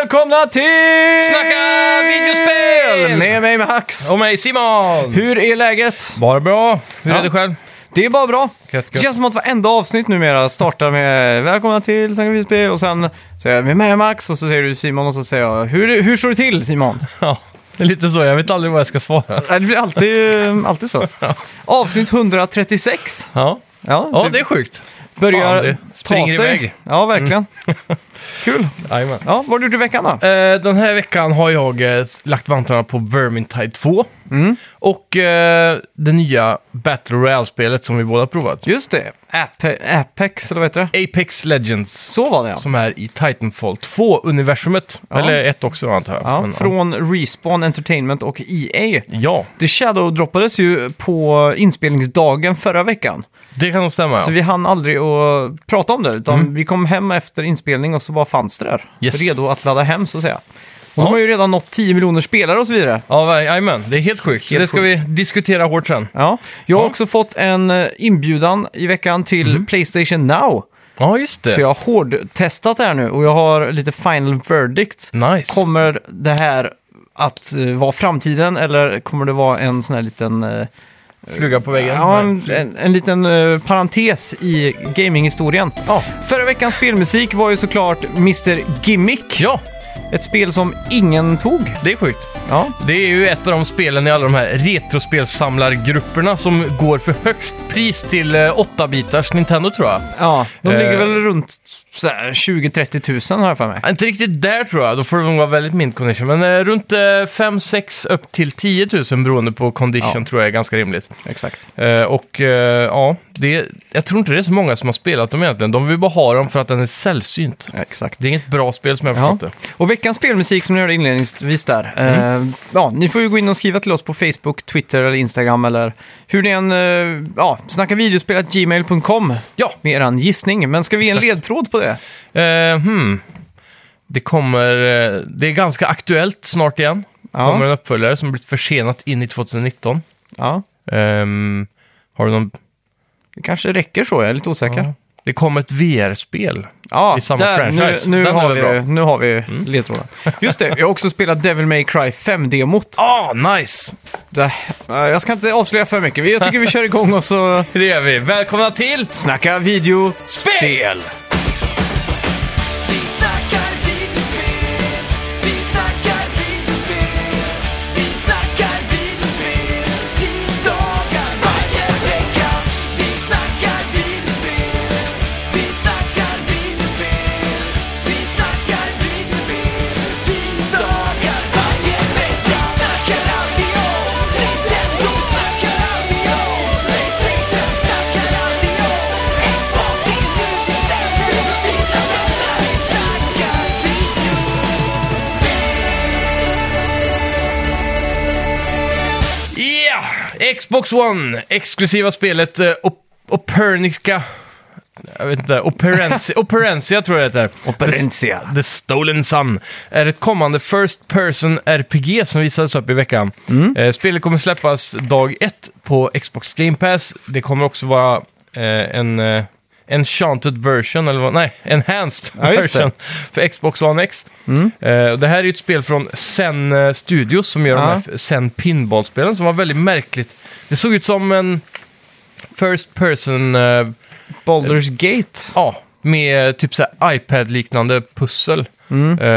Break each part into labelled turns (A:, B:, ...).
A: välkomna till...
B: Snacka videospel!
A: Med mig Max.
B: Och mig Simon!
A: Hur är läget?
B: Bara bra. Hur
A: Ja.
B: är det själv?
A: Det är bara bra.
B: Gött,
A: Det
B: gött.
A: känns som att varenda avsnitt numera startar med välkomna till Snacka videospel och sen säger jag med mig Max och så säger du Simon och så säger jag hur, hur står det till Simon?
B: Ja, det är lite så. Jag vet aldrig vad jag ska svara.
A: Nej, Det blir alltid, alltid så. Avsnitt 136.
B: Ja,
A: Ja,
B: ja
A: typ
B: det är sjukt.
A: börjar
B: fan, det
A: ta
B: springer
A: sig.
B: iväg. Mm.
A: Ja, verkligen. Kul.
B: Jajamän.
A: Ja, vad har du gjort i veckan då?
B: Eh, den här veckan har jag eh, lagt vantarna på Vermintide 2.
A: Mm.
B: Och eh, det nya Battle Royale-spelet som vi båda provat.
A: Just det, Ape- Apex eller vad heter det?
B: Apex Legends.
A: Så var det ja.
B: Som är i Titanfall 2-universumet.
A: Ja.
B: Eller ett också antar jag.
A: Ja,
B: Men,
A: från Respawn Entertainment och EA.
B: ja,
A: The Shadow droppades ju på inspelningsdagen förra veckan.
B: det kan nog stämma. Ja. Mm.
A: Så vi hann aldrig att prata om det, utan vi kom hem efter inspelning och så bara fanns det där.
B: Yes.
A: Redo att ladda hem så att säga. Och
B: Ja.
A: de har ju redan nått 10 miljoner spelare och så vidare.
B: Ja, ver- jajamän. Det är helt sjukt. så
A: Helt
B: det ska vi diskutera hårt sen.
A: Ja. Jag har
B: Ja. Mm.
A: också fått en eh, inbjudan i veckan till Playstation Now.
B: Ja, just det.
A: Så jag har hårdtestat det här nu och jag har lite final verdict.
B: Nice.
A: Kommer det här att eh, vara framtiden eller kommer det vara en sån här liten... eh,
B: Fluga på väggen.
A: Ja,
B: Nej.
A: en, en, en liten eh, parentes i gaminghistorien.
B: Ja.
A: Förra veckans spelmusik var ju såklart Mr. Gimmick.
B: ja,
A: Ett spel som ingen tog.
B: det är sjukt.
A: Ja,
B: Det är ju ett av de spelen i alla de här retrospelsamlargrupperna som går för högst pris till 8-bitars Nintendo tror jag.
A: ja de
B: Eh.
A: ligger väl runt så här 20-30 tusen har jag för mig.
B: Ja, Inte riktigt där tror jag, då får det nog vara väldigt mint condition. Men eh, runt 5-6 upp till 10 000 beroende på condition
A: Ja.
B: tror jag är ganska rimligt.
A: Exakt.
B: Eh, och eh, ja, det, jag tror inte det är så många som har spelat dem egentligen. De vill bara ha dem för att den är sällsynt.
A: Exakt.
B: Det är inget bra spel som jag har
A: Ja.
B: förstått det. Mm.
A: Och veckans spelmusik som ni hörde inledningsvis där. Eh, ja, ni får ju gå in och skriva till oss på Facebook, Twitter eller Instagram eller hur ni än... Eh, ja, snacka videospelet gmail.com
B: Ja,
A: med eran gissning. Men ska vi ge en
B: Exakt.
A: ledtråd på det?
B: Eh, hmm. Det kommer... eh, Det är ganska aktuellt snart igen.
A: Ja.
B: kommer en uppföljare som blivit försenat in i 2019.
A: Ja,
B: Ehm, har du någon...
A: det kanske räcker så. Jag är lite osäker.
B: Ja. Det kom ett VR-spel.
A: Ja,
B: i samma
A: där,
B: franchise.
A: Nu, nu,
B: Den är
A: har
B: väl Mm.
A: vi, nu har vi ledtråden. Just det, jag har också spelat Devil May Cry 5-demot.
B: Ah, nice!
A: Jag ska inte avslöja för mycket. Jag tycker vi kör igång och så
B: Det gör vi. Välkomna till
A: snacka video.
B: spel!
C: Vi snackar videospel, vi snackar videospel, vi snackar videospel, tisdagar varje vecka. Vi snackar videospel, vi snackar videospel, vi snackar videospel, tisdagar varje vecka. Snackar alltid om Nintendo, snackar alltid om Playstation, snackar alltid om Xbox, det är nu vi sänder och dina vänner. Vi snackar video.
B: Ja! Xbox One! Exklusiva spelet eh, Op- Opernica... Jag vet inte. Operencia, Operencia tror jag det heter.
A: Operencia.
B: The Stolen Sun är ett kommande First Person RPG som visades upp i veckan.
A: Mm.
B: Eh, spelet kommer släppas dag ett på Xbox Game Pass. Det kommer också vara eh, en eh, enchanted version, eller vad, nej, enhanced
A: Ja, just det.
B: version för Xbox One X.
A: Mm.
B: Eh, och det här är ju ett spel från Zen eh, Studios som gör de
A: Ja.
B: här f- Zen Pinball-spelen som var väldigt märkligt. Det såg ut som en First Person, eh,
A: Baldur's Gate.
B: ja, med eh, typ så här iPad-liknande pussel.
A: Mm.
B: Eh,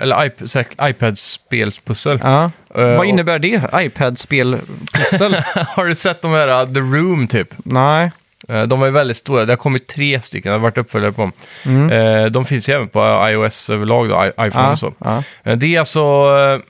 B: eller iP- så här iPad-spelpussel.
A: Ja.
B: Eh,
A: Vad innebär det? iPad-spelpussel?
B: och- Har du sett de här eh, The Room typ?
A: Nej.
B: Eh, De var ju väldigt stora. Det har kommit tre stycken. Det har varit uppföljare på dem. Eh, De finns ju även på iOS överlag, då, i-
A: Mm.
B: iPhone
A: Ja,
B: och så.
A: ja.
B: Eh, Det är alltså eh,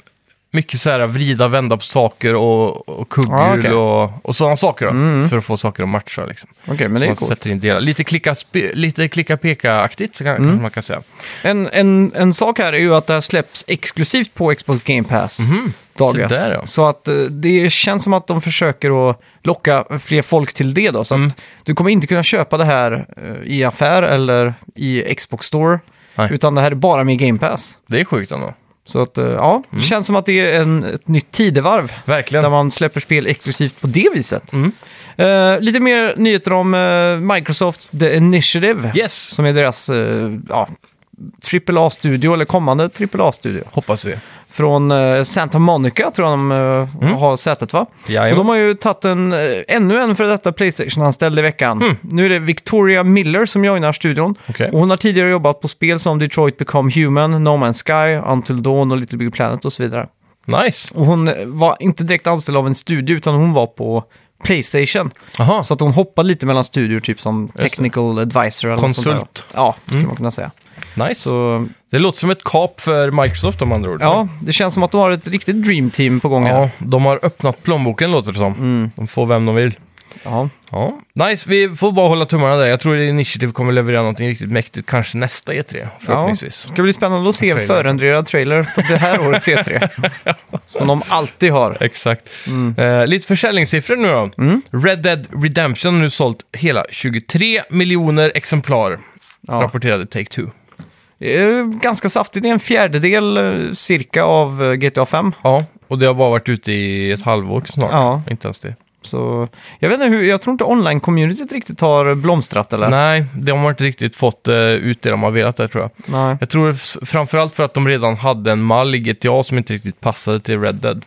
B: mycket så här vrida, vända på saker och, och kugghjul
A: Ah, okej.
B: och, och sådana saker. Då, För att få saker att matcha. Liksom.
A: Okej, men det är
B: Man
A: coolt.
B: sätter in delar. Lite klicka, spe- lite klicka peka-aktigt så kan,
A: Mm.
B: kanske man kan säga.
A: En, en, en sak här är ju att det här släpps exklusivt på Xbox Game Pass. Dag
B: Mhm. Så
A: ett.
B: där, ja.
A: Så att eh, det känns som att de försöker att locka fler folk till det då. Så
B: Mm.
A: att du kommer inte kunna köpa det här eh, i affär eller i Xbox Store.
B: Nej.
A: Utan det här är bara med Game Pass.
B: Det är sjukt ändå.
A: Så att, eh, ja, det
B: Mm.
A: känns som att det är en, ett nytt tidevarv.
B: Verkligen.
A: Där man släpper spel exklusivt på det viset.
B: Mm.
A: Eh, lite mer nyheter om eh, Microsoft The Initiative.
B: Yes!
A: Som är deras eh, ja, AAA-studio, eller kommande AAA-studio.
B: Hoppas vi.
A: Från eh, Santa Monica tror jag de eh,
B: Mm.
A: har sätet va? Och de
B: Jajamän.
A: har ju tagit en, eh, ännu en för detta Playstation-anställd i veckan. Nu är det Victoria Miller som joinar studion.
B: Mm. Okej.
A: Och hon har tidigare jobbat på spel som Detroit Become Human, No Man's Sky, Until Dawn och Little Big Planet och så vidare.
B: Nice.
A: Och hon eh, var inte direkt anställd av en studio utan hon var på Playstation.
B: Aha.
A: Så att hon hoppade lite mellan studior, typ som technical advisor eller något sånt där.
B: Konsult. Mm.
A: Ja, skulle man kunna säga.
B: Nice.
A: Så,
B: Det låter som ett kap för Microsoft om andra ord.
A: ja, det känns som att de har ett riktigt dream team på gång här.
B: ja. De har öppnat plånboken låter det som.
A: Mm.
B: De får vem de vill.
A: Ja.
B: Ja, nice. Vi får bara hålla tummarna där. Jag tror att Initiative kommer leverera någonting riktigt mäktigt. Kanske nästa E3, förhoppningsvis.
A: Ja. Det ska bli spännande att se en
B: Trailer.
A: förändrad trailer på det här årets C3. som de alltid har.
B: Exakt.
A: Mm.
B: Eh, lite försäljningssiffror nu då. Red Dead Redemption har nu sålt hela 23 miljoner exemplar,
A: Ja.
B: rapporterade Take-Two.
A: Det är ganska saftigt, det är en fjärdedel eh, cirka av eh, GTA 5.
B: Ja, och det har bara varit ute i ett halvår snart.
A: Ja.
B: Inte ens det.
A: Så jag vet inte hur, jag tror inte online-communityt riktigt har blomstrat eller?
B: Nej, de har inte riktigt fått eh, ut det de har velat där tror jag.
A: Nej.
B: Jag tror s- framförallt för att de redan hade en mall i GTA som inte riktigt passade till Red Dead.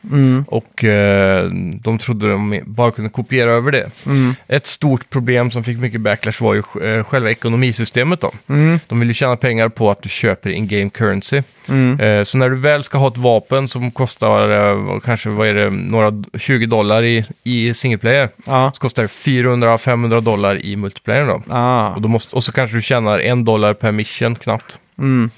B: Och eh, de trodde de bara kunde kopiera över det. Ett stort problem som fick mycket backlash var ju sj- eh, själva ekonomisystemet då. De vill ju tjäna pengar på att du köper in-game currency. Eh, så när du väl ska ha ett vapen som kostar eh, kanske vad är det, några 20 dollar i, i single player,
A: Ja.
B: så kostar det 400-500 dollar i multiplayer då.
A: Ah.
B: Och, då måste, och så kanske du tjänar en dollar per mission knappt.
A: Mm.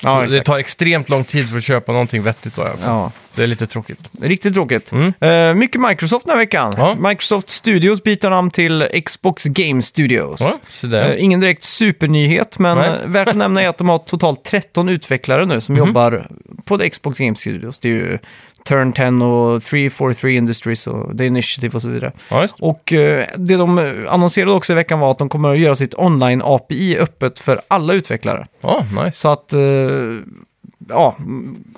B: Så
A: Ja,
B: det
A: exakt.
B: tar extremt lång tid för att köpa någonting vettigt då. i alla fall.
A: Ja,
B: Det är lite tråkigt.
A: riktigt tråkigt.
B: Mm.
A: Eh, mycket Microsoft den här veckan.
B: Ja.
A: Microsoft Studios byter namn till Xbox Game Studios.
B: Ja, så
A: Eh,
B: där.
A: Ingen direkt supernyhet, men
B: Nej. Mhm.
A: eh, värt att nämna är att de har totalt 13 utvecklare nu som jobbar på The Xbox Game Studios. Det är ju Turn 10 och 343 Industries och The Initiative och så vidare.
B: Ja, just.
A: Och eh, det de eh, annonserade också i veckan var att de kommer att göra sitt online-API öppet för alla utvecklare.
B: ja nice.
A: Så att eh, ja,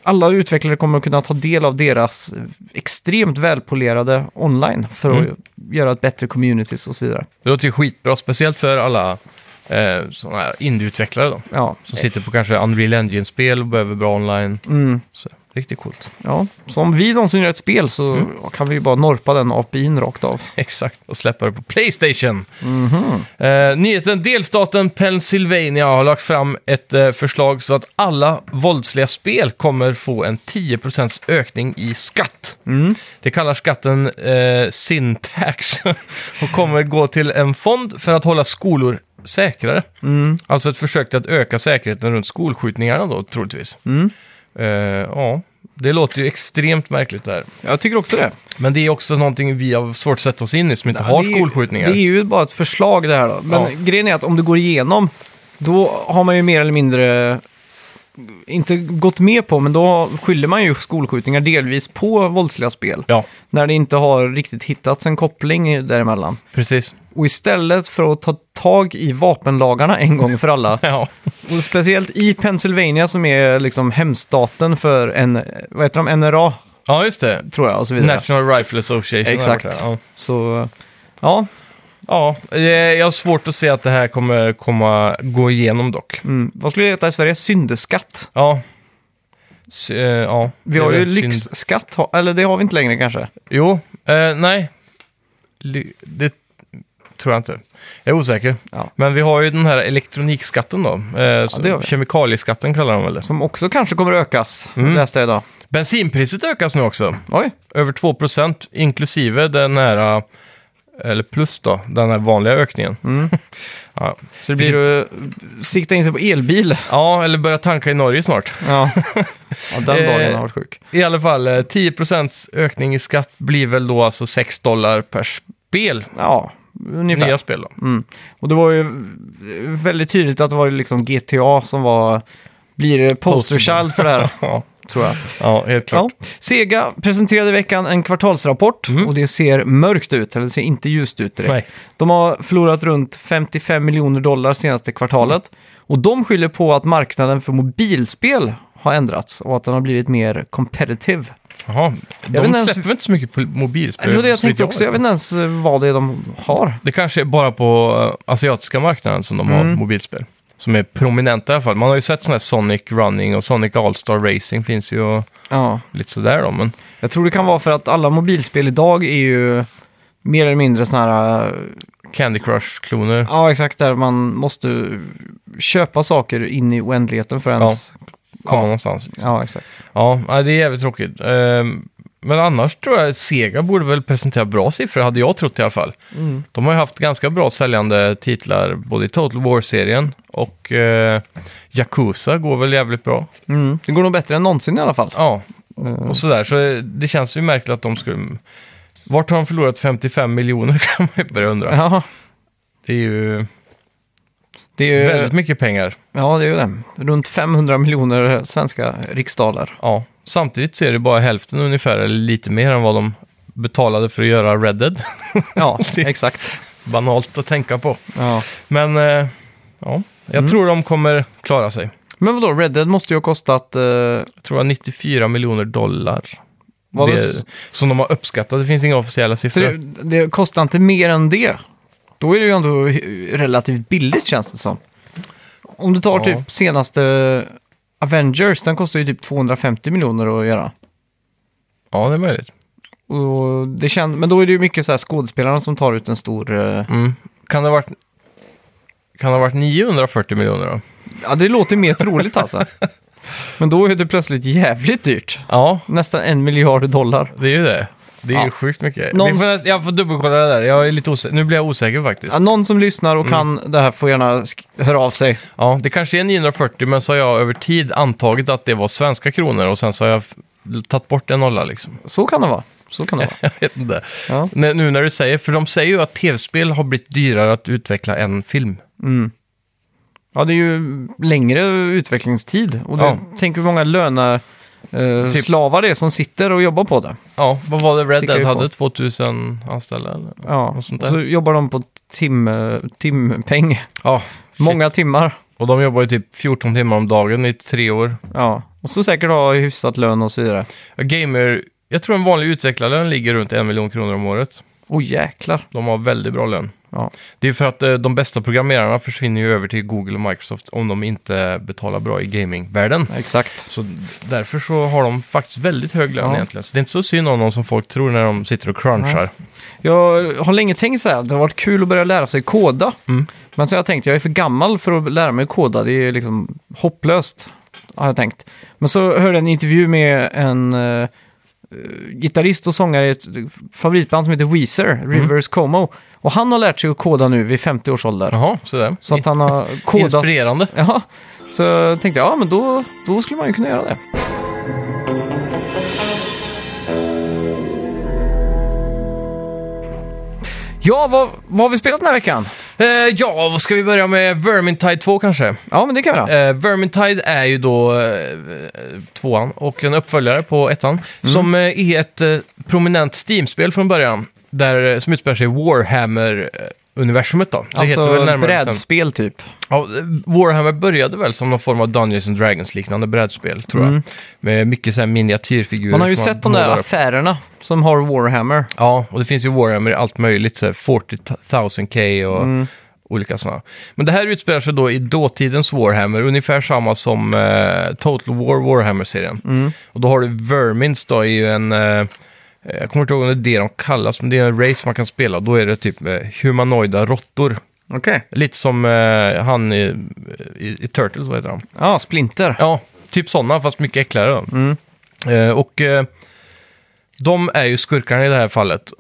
A: alla utvecklare kommer att kunna ta del av deras extremt välpolerade online för att
B: Mm.
A: göra ett bättre communities och så vidare.
B: Det låter ju skitbra, speciellt för alla eh, såna här indieutvecklare då.
A: Ja,
B: Som sitter på kanske Unreal Engine-spel och behöver bra online.
A: mm,
B: Så, riktigt coolt.
A: ja. Så om vi någonsin gör ett spel så kan vi ju bara norpa den API'n rakt av.
B: Exakt, och släppa det på Playstation. Eh, nyheten delstaten Pennsylvania har lagt fram ett eh, förslag så att alla våldsliga spel kommer få en 10% ökning i skatt. Det kallar skatten eh, Syntax och kommer gå till en fond för att hålla skolor säkrare. Alltså ett försök till att öka säkerheten runt skolskjutningarna då, troligtvis. Eh, ja, det låter ju extremt märkligt det här.
A: Jag tycker också det.
B: Men det är också någonting vi har svårt att sätta oss in i som inte har
A: det är ju-
B: skolskjutningar.
A: Det är ju bara ett förslag det här då. Men
B: Ja.
A: grejen är att om det går igenom, då har man ju mer eller mindre inte gått med på, men då skyller man ju skolskjutningar delvis på våldsliga spel.
B: Ja,
A: När det inte har riktigt hittats en koppling däremellan.
B: precis.
A: Och istället för att ta tag i vapenlagarna en gång för alla,
B: Ja,
A: och speciellt i Pennsylvania som är liksom hemstaten för en, vad heter de, NRA
B: ja just det.
A: tror jag och så vidare.
B: National Rifle Association.
A: Exakt.
B: Ja.
A: Så ja,
B: ja, eh, jag har svårt att se att det här kommer komma, gå igenom dock.
A: mm. vad skulle det heta i Sverige? Syndeskatt.
B: Ja. S- eh, ja.
A: Vi
B: Det är
A: har ju
B: väl synd.
A: lyxskatt, ha- eller det har vi inte längre kanske.
B: Jo, eh, nej. Ly- det tror jag inte. Jag är osäker.
A: Ja.
B: Men vi har ju den här elektronikskatten då. Eh, som-
A: det har vi.
B: kemikalieskatten kallar de väl det.
A: Som också kanske kommer att ökas,
B: Mm.
A: läste jag idag.
B: Bensinpriset ökas nu också.
A: Oj,
B: över 2 inklusive den här, eh, eller plus då, den här vanliga ökningen.
A: Mm.
B: ja.
A: så det blir ju... Sikta in sig på elbil.
B: ja, eller börja tanka i Norge snart.
A: Ja, ja den dagen
B: Eh.
A: har varit sjuk.
B: I alla fall, eh, 10 ökning i skatt blir väl då alltså 6 dollar per spel.
A: Ja, ungefär.
B: Nya spel då.
A: Och det var ju eh, väldigt tydligt att det var ju liksom GTA som var... Blir posterchild för det här,
B: Ja,
A: tror jag.
B: ja helt klart.
A: Ja. Sega presenterade i veckan en kvartalsrapport och det ser mörkt ut, eller det ser inte ljust ut direkt.
B: Nej.
A: De har förlorat runt 55 miljoner dollar senaste kvartalet. Och de skyller på att marknaden för mobilspel har ändrats och att den har blivit mer competitive.
B: Jaha,
A: vet inte
B: de
A: ens-
B: släpper väl inte så mycket på mobilspel?
A: Det var det jag
B: så vitt
A: tänkte också, jag vet
B: vet.
A: inte ens vad det är de har. Mm.
B: Det kanske är bara på eh, asiatiska marknaden som de har mobilspel. som är prominenta i alla fall. Man har ju sett sådana här Sonic Running och Sonic All-Star Racing finns ju och
A: Ja.
B: lite sådär då. Men
A: Jag tror det kan vara för att alla mobilspel idag är ju mer eller mindre sådana här... eh,
B: Candy Crush-kloner.
A: Ja, exakt. Där man måste köpa saker in i oändligheten för ens... Ja,
B: komma någonstans.
A: ja exakt.
B: Ja, nej, det är jävligt tråkigt. Ehm, Men annars tror jag Sega borde väl presentera bra siffror, hade jag trott i alla fall. De har ju haft ganska bra säljande titlar, både i Total War-serien och eh, Yakuza går väl jävligt bra.
A: Mm. Det går nog bättre än någonsin i alla fall.
B: Ja,
A: Mm.
B: och sådär. Så det känns ju märkligt att de skulle... Vart har de förlorat 55 miljoner kan man ju börja undra.
A: Ja,
B: Det är ju
A: det är ju...
B: väldigt mycket pengar.
A: Ja, det är ju det. Runt 500 miljoner svenska riksdaler.
B: Ja. Samtidigt så är det bara hälften ungefär, eller lite mer än vad de betalade för att göra Red Dead.
A: Ja,
B: Det-
A: exakt.
B: Banalt att tänka på.
A: Ja.
B: Men eh, ja, jag
A: Mm.
B: tror de kommer klara sig.
A: Men vadå, Red Dead måste ju ha kostat... Eh,
B: Jag tror det var 94 miljoner dollar.
A: vad
B: det,
A: det, så
B: Som de har uppskattat, det finns inga officiella siffror.
A: det, det kostar inte mer än det. Då är det ju ändå hy- relativt billigt känns det som. Om du tar
B: Ja.
A: typ senaste Avengers, den kostar ju typ 250 miljoner att göra.
B: Ja, det är möjligt.
A: Och det känd, men då är det ju mycket så här skådespelarna som tar ut en stor... Eh,
B: Mm. Kan det ha varit... Kan det ha varit 940 miljoner då?
A: ja, det låter mer troligt alltså. Men då är det plötsligt jävligt dyrt.
B: Ja,
A: Nästan en miljard dollar.
B: det är ju det. Det är ju
A: Ja.
B: sjukt mycket.
A: Någon-
B: Vi får, näst- jag får dubbelkolla det där. Jag är lite osä... Nu blir jag osäker faktiskt.
A: Ja, någon som lyssnar och kan det här får gärna sk- höra av sig.
B: Ja, det kanske är 940, men så har jag över tid antagit att det var svenska kronor och sen så har jag f- tagit bort en nolla liksom.
A: Så kan det vara. Så kan det vara.
B: Jag vet inte.
A: Ja.
B: Nej, Nu när du säger, för de säger ju att tv-spel har blivit dyrare att utveckla än film.
A: Ja, det är ju längre utvecklingstid. Och det,
B: Ja.
A: tänk hur många löne, eh,
B: Typ.
A: slavar det är som sitter och jobbar på det.
B: Ja, vad var det Red
A: Tickar
B: Dead
A: ju på.
B: hade? 2000 anställda? Eller?
A: Ja.
B: Något sånt
A: Och så
B: där.
A: jobbar de på tim, timpeng.
B: Ja, shit.
A: Många timmar.
B: Och de jobbar ju typ 14 timmar om dagen i tre år.
A: Ja. Och så säkert ha hyfsat lön och så vidare.
B: Ja, Gamer, jag tror en vanlig utvecklarlön ligger runt en miljon kronor om året.
A: Åh jäklar.
B: De har väldigt bra lön.
A: Ja.
B: Det är för att eh, de bästa programmerarna försvinner ju över till Google och Microsoft om de inte betalar bra i gamingvärlden.
A: Exakt.
B: Så därför så har de faktiskt väldigt hög lön
A: Ja.
B: egentligen. Så det är inte så synd om dem som folk tror när de sitter och crunchar.
A: Jag har länge tänkt så här, det har varit kul att börja lära sig koda.
B: Mm.
A: Men så har jag tänkt, jag är för gammal för att lära mig koda, det är liksom hopplöst. Har jag tänkt. Men så hörde jag en intervju med en eh, eh, gitarrist och sångare i ett favoritband som heter Weezer, Rivers Como. Och han har lärt sig att koda nu vid 50 års ålder.
B: Jaha, sådär.
A: Så att han har kodat.
B: Inspirerande.
A: Ja, så jag tänkte jag, ja men då, då skulle man ju kunna göra det. Ja, vad, vad har vi spelat den här veckan?
B: Eh, ja, vad ska vi börja med? Vermintide 2 kanske?
A: Ja, men det kan vi göra.
B: Eh, Vermintide är ju då eh, tvåan och en uppföljare på
A: Mm.
B: ettan. Som eh, är ett eh, prominent Steam-spel från början. Där, eh, som utspelar sig i Warhammer-universumet då. Det heter väl
A: Alltså
B: närmare bestämt-
A: brädspel typ.
B: Ja, Warhammer började väl som någon form av Dungeons and Dragons-liknande brädspel, tror jag. Med mycket så här miniatyrfigurer.
A: Mm. Man har ju
B: som
A: sett de där
B: målar upp.
A: affärerna som har Warhammer.
B: Ja, och det finns ju Warhammer i allt möjligt, så här 40 000K och olika sådana. Men det här utspelar sig då i dåtidens Warhammer, ungefär samma som eh, Total War Warhammer-serien. Och då har du Vermins då, är ju en... Eh, jag kommer inte ihåg om det är det de kallas, men det är en race man kan spela. Då är det typ eh, humanoida råttor.
A: Okej.
B: Lite som eh, han i, i, i Turtles, vad heter han?
A: Ja, Splinter.
B: Ja, typ sådana, fast mycket äckligare. då. Eh, och eh, de är ju skurkarna i det här fallet.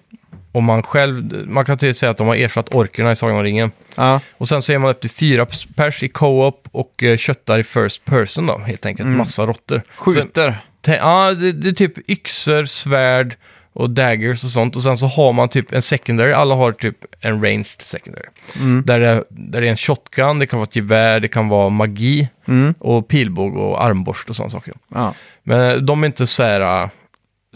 B: Och man själv, man kan till och med säga att de har ersatt orkerna i Sagan om ringen.
A: Ja.
B: Och sen så är man upp till fyra pers i co-op och eh, köttar i first person då, helt enkelt. Massa råttor. Sen-
A: Skjuter.
B: te- Ja, det, det är typ yxor, svärd och daggers och sånt. Och sen så har man typ en secondary, alla har typ en ranged secondary. Där, det, där det är en shotgun, det kan vara ett gevär, det kan vara magi och pilbåge och armborst och sådana saker.
A: Ja.
B: Men eh, de är inte så här eh,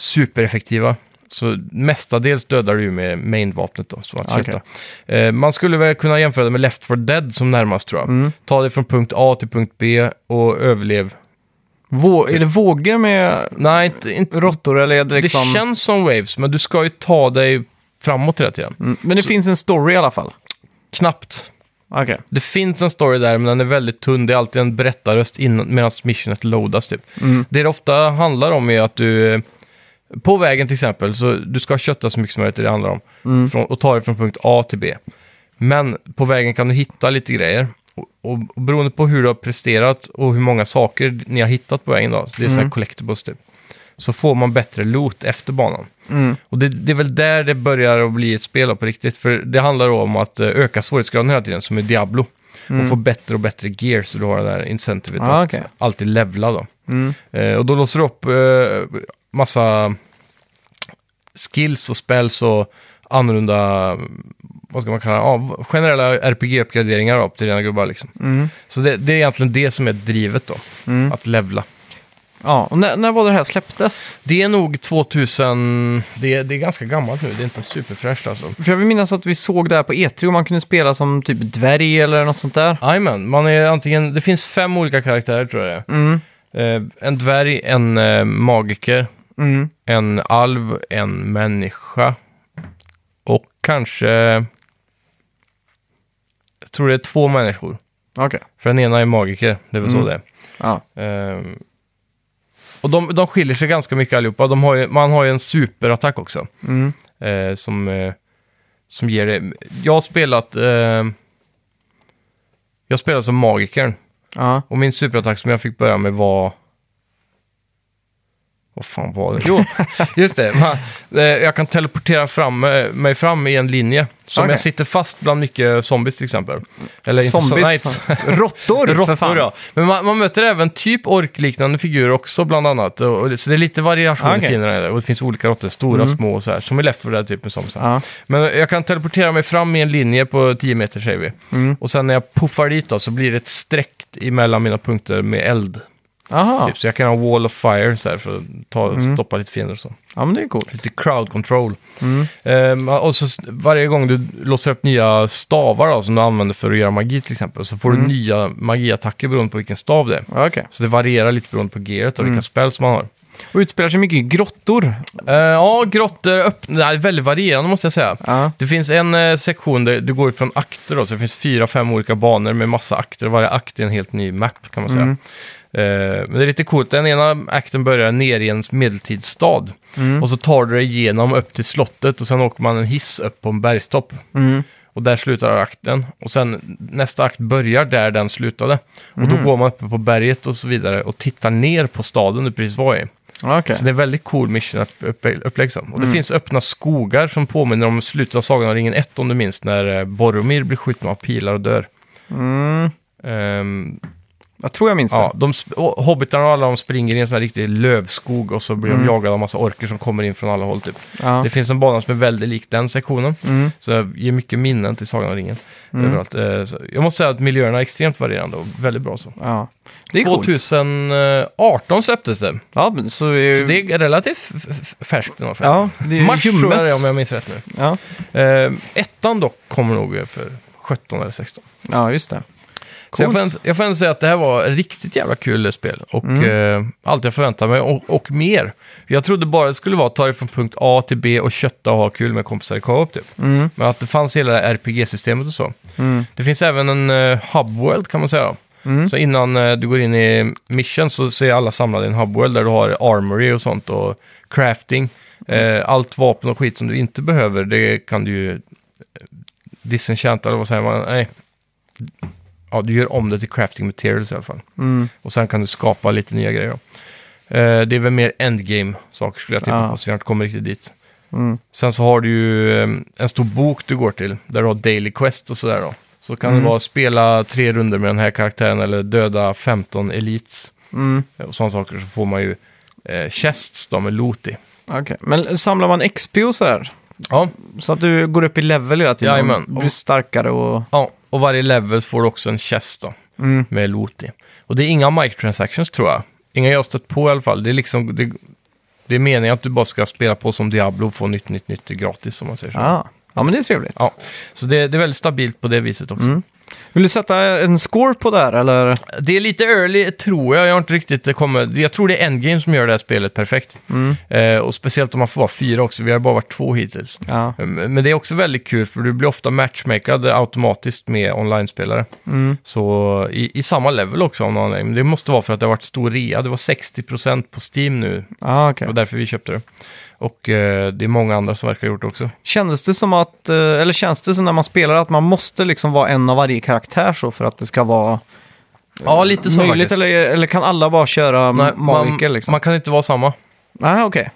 B: supereffektiva. Så mestadels dödar du ju med mainvapnet då, som att
A: Okej.
B: köta. Eh, man skulle väl kunna jämföra det med Left 4 Dead som närmast tror jag. Ta det från punkt A till punkt B och överlev.
A: Vå- är det vågor med
B: Nej, inte, inte,
A: råttor eller är det liksom...
B: det känns som waves, men du ska ju ta dig framåt hela tiden.
A: Mm, Men det finns en story i alla fall.
B: Knappt.
A: Okej.
B: Det finns en story där, men den är väldigt tunn. Det är alltid en berättarröst innan- medan missionet loadas, typ. Det det ofta handlar om är att du... eh, På vägen till exempel, så du ska kötta så mycket som möjligt, det är det handlar om. Från, och ta dig från punkt A till B. Men på vägen kan du hitta lite grejer. Och, och, och beroende på hur du har presterat och hur många saker ni har hittat på vägen då, det är
A: Mm.
B: sådana här collectibles typ, så får man bättre loot efter banan.
A: Mm.
B: Och det, det är väl där det börjar att bli ett spel då, på riktigt. För det handlar då om att eh, öka svårighetsgraden hela tiden, som i Diablo. Och få bättre och bättre gear, så du har det där incentivet
A: Mm. Ah,
B: att
A: okej.
B: alltid levla då.
A: Mm.
B: Eh, och då låser du upp eh, massa skills och spells och annorlunda, vad ska man kalla det, ja, generella RPG-uppgraderingar då, till dina gubbar liksom.
A: Mm.
B: Så det, det är egentligen det som är drivet då,
A: Mm.
B: att levla.
A: Ja, och när, när var det här släpptes?
B: Det är nog 2000, det, det är ganska gammalt nu, det är inte superfräscht alltså.
A: För jag vill minnas att vi såg det här på E3 och man kunde spela som typ dvärg eller något sånt där.
B: Jajamän, man är antingen, det finns fem olika karaktärer tror jag det är.
A: Mm.
B: Eh, en dvärg, en eh, magiker,
A: Mm.
B: en alv, en människa och kanske... Jag tror det är två människor.
A: Okej.
B: För den ena är magiker, det är väl
A: Mm.
B: så det
A: Ja.
B: är. Ehm, och de, de skiljer sig ganska mycket allihopa. De har ju, man har ju en superattack också.
A: Mm.
B: eh, som, eh, som ger det... Jag har spelat... Eh, jag spelade som magikern.
A: Ja.
B: Och min superattack som jag fick börja med var... Vad fan var det? Jo, just det. Man, eh, jag kan teleportera fram, eh, mig fram i en linje. Så om
A: Okej.
B: jag sitter fast bland mycket zombies till exempel. Eller inte så- nej, inte så-
A: Zombies. Råttor, för fan.
B: Råttor, ja. Men man, man möter även typ orkliknande figurer också, bland annat. Och, och, det- så det är lite variation
A: Ah,
B: i
A: okej. Mm.
B: fienderna. där. Och det finns olika råttor, stora, små och så här. Som är left for dead, typ med zombies.
A: Ja.
B: Men jag kan teleportera mig fram i en linje på 10 meter, säger vi.
A: Mm.
B: Och sen när jag puffar dit då, så blir det ett streck emellan mina punkter med eld.
A: Aha.
B: Typ. Så jag kan ha wall of fire så här, för att ta,
A: Mm.
B: stoppa lite fiender och så.
A: Ja, men det är coolt.
B: Lite crowd control. Ehm, och så s- varje gång du låser upp nya stavar då, som du använder för att göra magi till exempel, så får du nya magiattacker beroende på vilken stav det är.
A: Okej.
B: Så det varierar lite beroende på gearet och vilka spells man har.
A: Och utspelar sig mycket i grottor.
B: Eh, ja, grottor, öppna, nej, väldigt varierande måste jag säga.
A: Ja.
B: Det finns en eh, sektion där du går från akter då, så det finns fyra, fem olika banor med massa akter. Varje akt är en helt ny map kan man säga. Eh, men det är lite coolt, den ena akten börjar nere i en medeltidsstad. Och så tar du dig igenom upp till slottet och sen åker man en hiss upp på en bergstopp. Och där slutar akten. Och sen nästa akt börjar där den slutade. Och då går man uppe på berget och så vidare och tittar ner på staden du precis var i.
A: Okej. Mm.
B: Så det är väldigt cool mission upp- upp- upplägg. så. Och det finns öppna skogar som påminner om slutet av Sagan om ringen 1 om du minns, när eh, Boromir blir skjuten av pilar och dör.
A: Mm.
B: Ehm,
A: Jag tror jag minns
B: ja, de, sp- och hobbitarna och alla de springer i en sån här riktig lövskog och så blir de jagade av massa orker som kommer in från alla håll typ.
A: det. Mm. Ja.
B: Det finns en bana som är väldigt lik den sektionen.
A: Mm.
B: Så det ger mycket minnen till Sagan om ringen. Överallt. Eh, så Jag måste säga att miljöerna är extremt varierande och väldigt bra så.
A: ja. Det är coolt.
B: 2018 släpptes det.
A: Ja, men så är
B: Så det är relativt f- f- färskt. ändå, förresten.
A: Ja, det är
B: Mars tror jag det är,
A: ljummet.
B: om jag minns rätt nu.
A: Ja.
B: Eh, ettan dock kommer nog för 17 eller 16.
A: ja, just det.
B: Så jag
A: Coolt.
B: får, ändå, jag får ändå säga att det här var ett riktigt jävla kul spel. Och
A: Mm.
B: eh, allt jag förväntade mig och, och mer. Jag trodde bara det skulle vara att ta dig från punkt A till B och kötta och ha kul med kompisar i co-op typ.
A: Mm.
B: Men att det fanns hela det här RPG-systemet och så.
A: Mm.
B: Det finns även en eh, hubworld kan man säga.
A: Mm.
B: Så innan eh, du går in i mission så, så är alla samlade i en hubworld där du har armory och sånt och crafting. Eh, allt vapen och skit som du inte behöver, det kan du ju eh, disenchanta eller vad säger man? Nej. Ja, du gör om det till crafting materials i alla fall.
A: Mm.
B: Och sen kan du skapa lite nya grejer. Då. Eh, det är väl mer endgame-saker skulle jag tippa
A: Ja.
B: på, så vi har inte kommit riktigt dit.
A: Mm.
B: Sen så har du ju eh, en stor bok du går till, där du har Daily Quest och sådär då. Så kan
A: Mm.
B: det vara spela tre runder med den här karaktären eller döda 15 elites
A: Mm.
B: eh, och sådana saker. Så får man ju eh, chests då med loot i.
A: Okej. Men samlar man XP och sådär?
B: Ja,
A: Så att du går upp i level hela tiden?
B: Jajamän.
A: och Blir starkare och...
B: ja, och varje level får du också en chest då
A: Mm.
B: med loot i. Och det är inga microtransactions tror jag. Inga jag har stött på i alla fall. Det är liksom... Det, det är meningen att du bara ska spela på som Diablo och få nytt, nytt, nytt gratis, som man säger så.
A: Ja. ja, men det är trevligt.
B: Ja, så det, det är väldigt stabilt på det viset också.
A: Vill du sätta en score på det här eller?
B: Det är lite early, tror jag. Jag har inte riktigt kommit... Jag tror det är Endgame som gör det här spelet perfekt. Eh, och speciellt om man får vara fyra också. Vi har bara varit två hittills.
A: Ja.
B: Eh, Men det är också väldigt kul, för du blir ofta matchmakad automatiskt med online-spelare. Så i, i samma level också, om någon anledning. Men det måste vara för att det har varit stor rea. Det var 60% på Steam nu.
A: Ah,
B: Det
A: okay.
B: var därför vi köpte det. Och eh, det är många andra som verkar ha gjort det också.
A: Kändes det som att, eh, eller känns det som när man spelar att man måste liksom vara en av varje karaktär så för att det ska vara
B: Ja, lite så
A: möjligt?
B: faktiskt.
A: Eller, eller kan alla bara köra
B: Nej,
A: magiker
B: man,
A: liksom?
B: man kan inte vara samma.
A: Nej, okej.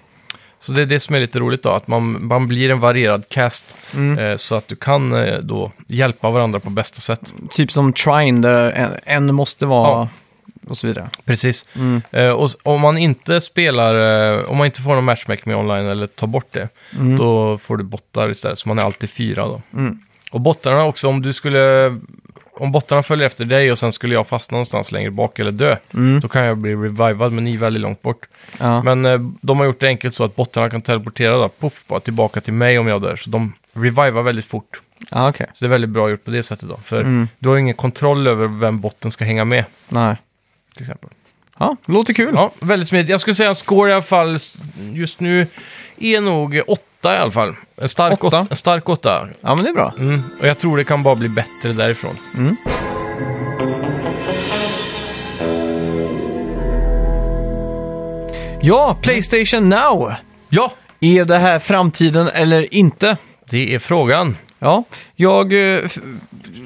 B: Så det är det som är lite roligt då, att man, man blir en varierad cast. Eh, så att du kan eh, då hjälpa varandra på bästa sätt.
A: Typ som Trine där en, en måste vara
B: Ja.
A: och så vidare.
B: Precis. Eh, och s- om man inte spelar, eh, om man inte får någon matchmaking med online eller tar bort det, då får du bottar istället. Så man är alltid fyra då. Och bottarna också, om du skulle... Om bottarna följer efter dig och sen skulle jag fastna någonstans längre bak eller dö, då kan jag bli revivad, men ni är väldigt långt bort.
A: Ja.
B: Men eh, de har gjort det enkelt så att bottarna kan teleportera då, puff, bara tillbaka till mig om jag dör. Så de revivar väldigt fort.
A: Ja, okej.
B: Så det är väldigt bra gjort på det sättet då. För du har ju ingen kontroll över vem botten ska hänga med,
A: Nej.
B: till exempel.
A: Ja, låter kul.
B: Ja, väldigt smidigt. Jag skulle säga att score i alla fall s- just nu är nog åtta i alla fall. En stark
A: Åtta?
B: åtta. En stark åtta.
A: Ja, men det är bra.
B: Mm. Och jag tror det kan bara bli bättre därifrån.
A: Ja, Playstation Now!
B: Ja,
A: Är det här framtiden eller inte?
B: det är frågan.
A: Ja, jag eh, f-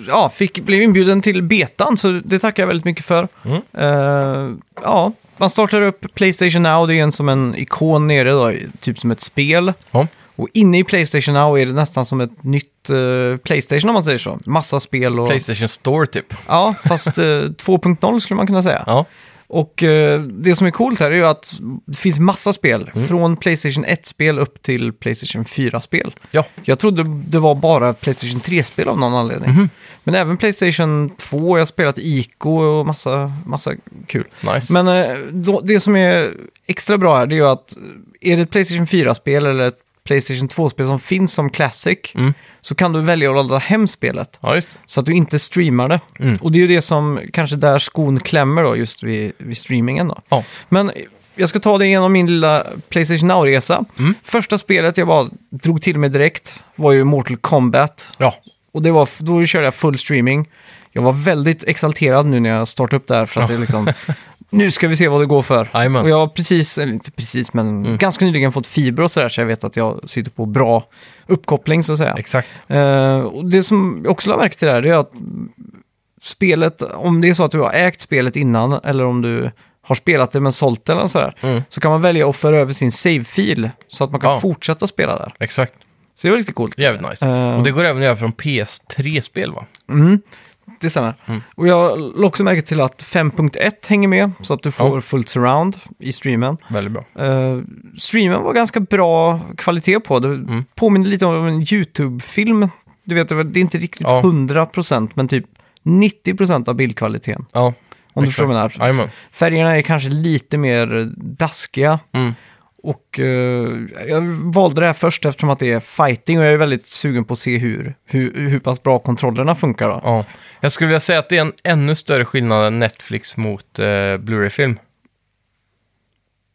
A: ja, fick, blev inbjuden till betan så det tackar jag väldigt mycket för.
B: Mm.
A: Eh, ja, man startar upp Playstation Now, det är en som en ikon nere, då, typ som ett spel.
B: Ja.
A: Och inne i Playstation Now är det nästan som ett nytt eh, Playstation om man säger så. Massa spel och...
B: Playstation Store typ.
A: Ja, fast eh, 2.0 skulle man kunna säga.
B: Ja,
A: Och eh, det som är coolt här är ju att det finns massa spel.
B: Mm.
A: Från Playstation 1-spel upp till Playstation 4-spel.
B: ja.
A: Jag trodde det var bara Playstation 3-spel av någon anledning.
B: Mhm.
A: Men även Playstation 2, jag har spelat Ico och massa, massa kul.
B: nice.
A: Men eh, då, det som är extra bra här det är ju att eh, är det ett Playstation 4-spel eller ett Playstation 2-spel som finns som Classic
B: Mm.
A: så kan du välja att ladda hem spelet
B: Ja, just
A: så att du inte streamar det.
B: Mm.
A: Och det är ju det som kanske där skon klämmer då just vid, vid streamingen då.
B: Ja.
A: Men jag ska ta det igenom min lilla Playstation Now-resa. Första spelet jag bara drog till mig direkt var ju Mortal Kombat.
B: Ja,
A: Och det var, då körde jag full streaming. Jag var väldigt exalterad nu när jag startade upp det här för att det liksom, nu ska vi se vad det går för.
B: Jajamän.
A: Och jag har precis, eller inte precis, men ganska nyligen fått fiber och sådär så jag vet att jag sitter på bra uppkoppling så att säga.
B: exakt.
A: Eh, och det som jag också har märkt till det här det är att spelet, om det är så att du har ägt spelet innan eller om du har spelat det men sålt det eller sådär, så kan man välja att föra över sin save-fil så att man kan
B: Mm. Ja.
A: fortsätta spela där.
B: Exakt.
A: Så det var riktigt coolt.
B: Jävligt nice.
A: Eh.
B: Och det går även att göra från PS3-spel va?
A: Det stämmer.
B: Mm.
A: Och jag lade också märke till att 5.1 hänger med, så att du får
B: Ja.
A: fullt surround i streamen.
B: Väldigt bra.
A: Eh, streamen var ganska bra kvalitet på. Det
B: Mm.
A: påminner lite om en YouTube-film. Du vet, det var- det är inte riktigt
B: Ja.
A: 100% men typ 90% av bildkvaliteten.
B: Ja. Om
A: Om du förstår vad jag menar.
B: Jajamän.
A: Färgerna är kanske lite mer daskiga.
B: Mm.
A: Och eh, jag valde det här först eftersom att det är fighting och jag är väldigt sugen på att se hur, hur, hur pass bra kontrollerna funkar då.
B: Ja. Jag skulle vilja säga att det är en ännu större skillnad än Netflix mot eh, Blu-ray-film.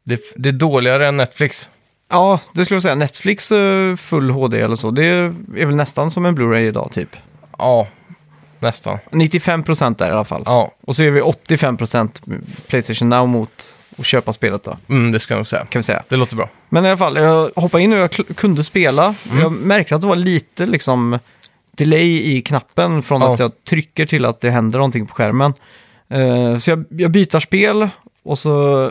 B: Det, det är dåligare än Netflix.
A: Ja, det skulle jag säga. Netflix eh, full HD eller så, det är väl nästan som en Blu-ray idag typ.
B: Ja, nästan.
A: 95% där i alla fall.
B: Ja,
A: Och så är vi 85% Playstation Now mot att köpa spelet då,
B: mm, det ska jag nog säga.
A: kan vi säga.
B: Det låter bra.
A: Men i alla fall, jag hoppade in och jag kl- kunde spela. Jag märkte att det var lite liksom delay i knappen från
B: Ja.
A: att jag trycker till att det händer någonting på skärmen. Eh, så jag, jag byter spel och så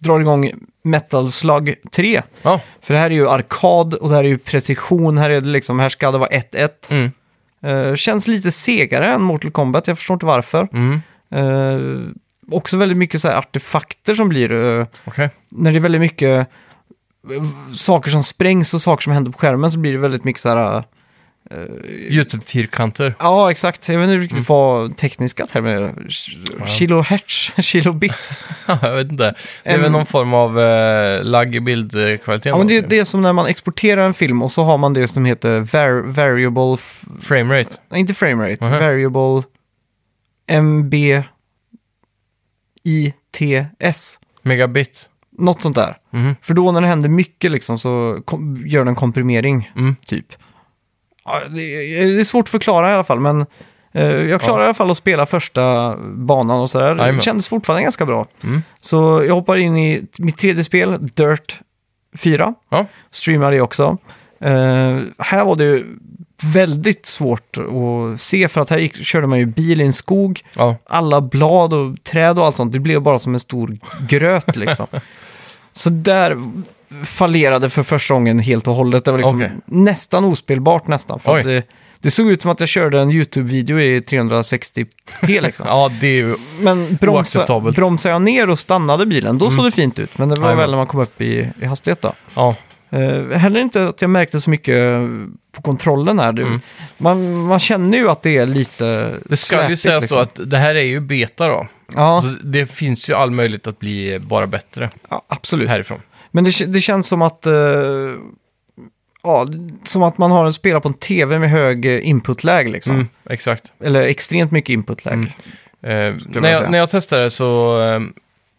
A: drar igång Metal Slug 3.
B: Ja,
A: För det här är ju arkad och det här är ju precision. Här, är det liksom, här ska det vara 1-1.
B: mm,
A: Eh, känns lite segare än Mortal Kombat, jag förstår inte varför.
B: mm,
A: Eh, också väldigt mycket så här artefakter som blir, eh,
B: okej.
A: när det är väldigt mycket eh, saker som sprängs och saker som händer på skärmen så blir det väldigt mycket så här... eh,
B: YouTube-fyrkanter.
A: Ja, exakt. Jag vet inte riktigt vad tekniska termer är. Kilohertz, kilobits.
B: jag vet inte. Det är väl
A: Em.
B: någon form av eh, lagg i bildkvaliteten.
A: ja, men det,
B: alltså.
A: det är som när man exporterar en film och så har man det som heter var, variable
B: Framerate.
A: Nej, inte framerate.
B: Mhm.
A: Variable MBITS.
B: Megabit.
A: Något sånt där.
B: Mhm.
A: För då när det händer mycket liksom så kom, gör den komprimering,
B: Mm.
A: typ. Ja, det, är- det är svårt att förklara i alla fall, men eh, jag klarade
B: Ja.
A: i alla fall att spela första banan och sådär.
B: Jajamän.
A: Det kändes fortfarande ganska bra.
B: Mm.
A: Så jag hoppar in i mitt tredje spel, Dirt 4.
B: Ja.
A: Streamar det också. Eh, här var det ju väldigt svårt att se, för att här gick, körde man ju bil i en skog
B: Ja.
A: alla blad och träd och allt sånt, det blev bara som en stor gröt liksom. Så där fallerade för första gången helt och hållet. Det var liksom
B: Okej.
A: nästan ospelbart nästan. För
B: Oj.
A: att det, det såg ut som att jag körde en YouTube-video i 360p liksom.
B: ja, det är ju...
A: Men bromsa,
B: Oacceptabelt. Mm.
A: bromsade jag ner och stannade bilen, då såg det fint ut. Men det var
B: Jajamän.
A: väl när man kom upp i, i hastighet då.
B: Ja.
A: Uh, heller inte att jag märkte så mycket på kontrollen här. Det-
B: Mm.
A: Man, man känner ju att det är lite
B: Det ska ju
A: släpigt,
B: sägas
A: liksom.
B: då att alltså, det här är ju beta då.
A: Ja,
B: Så det finns ju all möjlighet att bli bara bättre
A: ja, absolut.
B: härifrån.
A: Men det, k- det känns som att... eh, ja, som att man har en spelare på en tv med hög eh, input-lag liksom.
B: Mm, exakt.
A: Eller extremt mycket input-lag.
B: Mm. Eh,
A: man
B: när,
A: säga.
B: jag, när jag testade så, eh,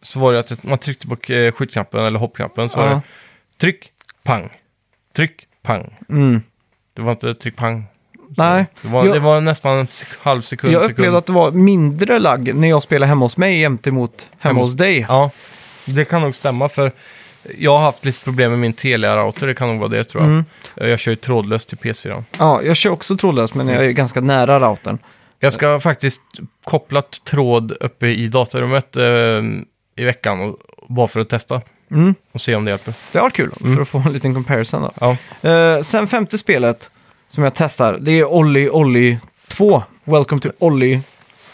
B: så var det att man tryckte på eh, skjutknappen eller hoppknappen. Så var det
A: Ja.
B: tryck, pang, tryck, pang.
A: Mm.
B: Det var inte tryck, pang.
A: Nej,
B: Det var,
A: Jag-
B: det var nästan en sek- halv sekund.
A: jag
B: sekund.
A: upplevde att det var mindre lag när jag spelade hemma hos mig jämt emot hemma
B: Hemma-
A: hos dig.
B: Ja, det kan nog stämma för jag har haft lite problem med min Telia-router. Det kan nog vara det tror jag.
A: Mm.
B: Eh, Jag kör ju trådlöst till PS4.
A: Ja, jag kör också trådlöst men jag är ganska nära routern.
B: Jag ska faktiskt koppla t- tråd uppe i datarummet eh, i veckan och, bara för att testa
A: Mm.
B: och se om det hjälper.
A: Det var kul
B: Mm.
A: för att få en liten comparison då.
B: Ja,
A: Eh, sen femte spelet som jag testar, det är Olli Olli 2. Welcome to Olli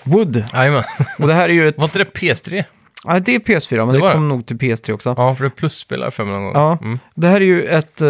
A: Wood.
B: Jajamän.
A: Och det här är ju ett...
B: Var inte det PS3?
A: Ja, det är PS4 men
B: Det
A: det,
B: var det.
A: kom nog till PS3 också.
B: Ja, för det är plusspelare för mig någon gång.
A: Ja.
B: Mm.
A: Det här är ju ett eh,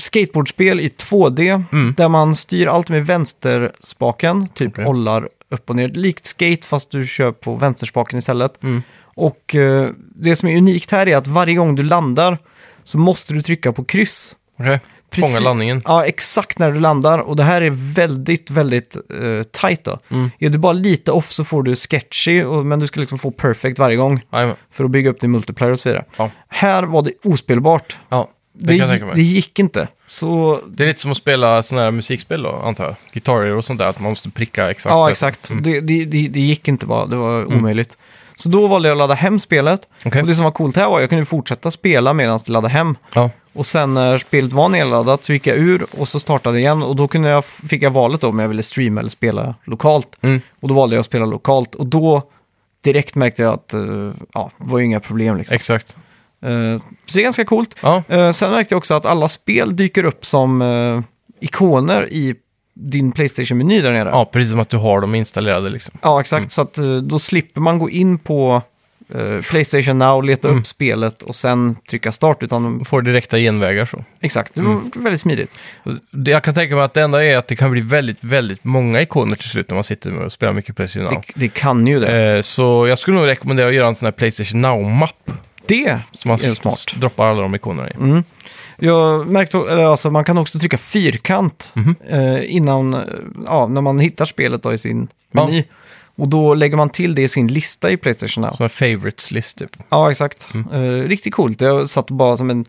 A: skateboardspel i 2D
B: Mm.
A: där man styr allt med vänsterspaken, typ
B: Okej.
A: ollar upp och ner. Likt skate fast du kör på vänsterspaken istället.
B: Mm.
A: Och eh, det som är unikt här är att varje gång du landar så måste du trycka på kryss.
B: Okej,
A: Precis.
B: fånga landningen.
A: Ja, exakt när du landar och det här är väldigt, väldigt eh, tight då.
B: Mm.
A: Är du bara lite off så får du sketchy, och, men du ska liksom få perfect varje gång
B: Jajamän.
A: för att bygga upp din multiplayer och så vidare.
B: Ja.
A: Här var det ospelbart.
B: Ja, det,
A: Det,
B: kan jag
A: gi-
B: tänka mig.
A: det
B: Det...
A: gick inte. Så,
B: är lite som att spela sådana här musikspel då, antar jag. Gitarrer och sånt där, att man måste pricka exakt.
A: ja
B: rätt.
A: exakt. Det, det, det, det gick inte bara, det var omöjligt. Så då valde jag att ladda hem spelet.
B: Mm. Okej.
A: Och det som var coolt här var att jag kunde fortsätta spela medan jag laddade hem.
B: Ja.
A: Och sen när spelet var nedladdat så gick jag ur och så startade jag igen. Och då kunde jag, fick jag valet då om jag ville streama eller spela lokalt.
B: Mm.
A: Och då valde jag att spela lokalt. Och då direkt märkte jag att eh, ja, det var ju inga problem liksom.
B: Exakt.
A: Eh, så det är ganska coolt.
B: Ja,
A: Eh, sen märkte jag också att alla spel dyker upp som eh, ikoner i din Playstation-meny där nere.
B: ja, precis som att du har dem installerade liksom.
A: Ja, exakt. Så att, eh, då slipper man gå in på eh, Playstation Now, leta
B: Mm.
A: upp spelet och sen trycka start. Utan,
B: Får direkta genvägar så.
A: exakt, det var
B: Mm.
A: väldigt smidigt.
B: Det jag kan tänka mig att det enda är att det kan bli väldigt, väldigt många ikoner till slut när man sitter med och spelar mycket Playstation Now.
A: Det, det kan ju det.
B: Eh, Så jag skulle nog rekommendera att göra en sån här Playstation Now-mapp.
A: det
B: Som man
A: är smart. Mm.
B: s- droppar alla de ikonerna i.
A: Jag märkte, eller alltså man kan också trycka fyrkant
B: Mhm.
A: eh, innan, eh, ja, när man hittar spelet då i sin
B: Ja.
A: meny. Och då lägger man till det i sin lista i Playstation Now.
B: Som en favorites-list typ.
A: Ja, exakt. Eh, riktigt coolt. Jag satt bara som en,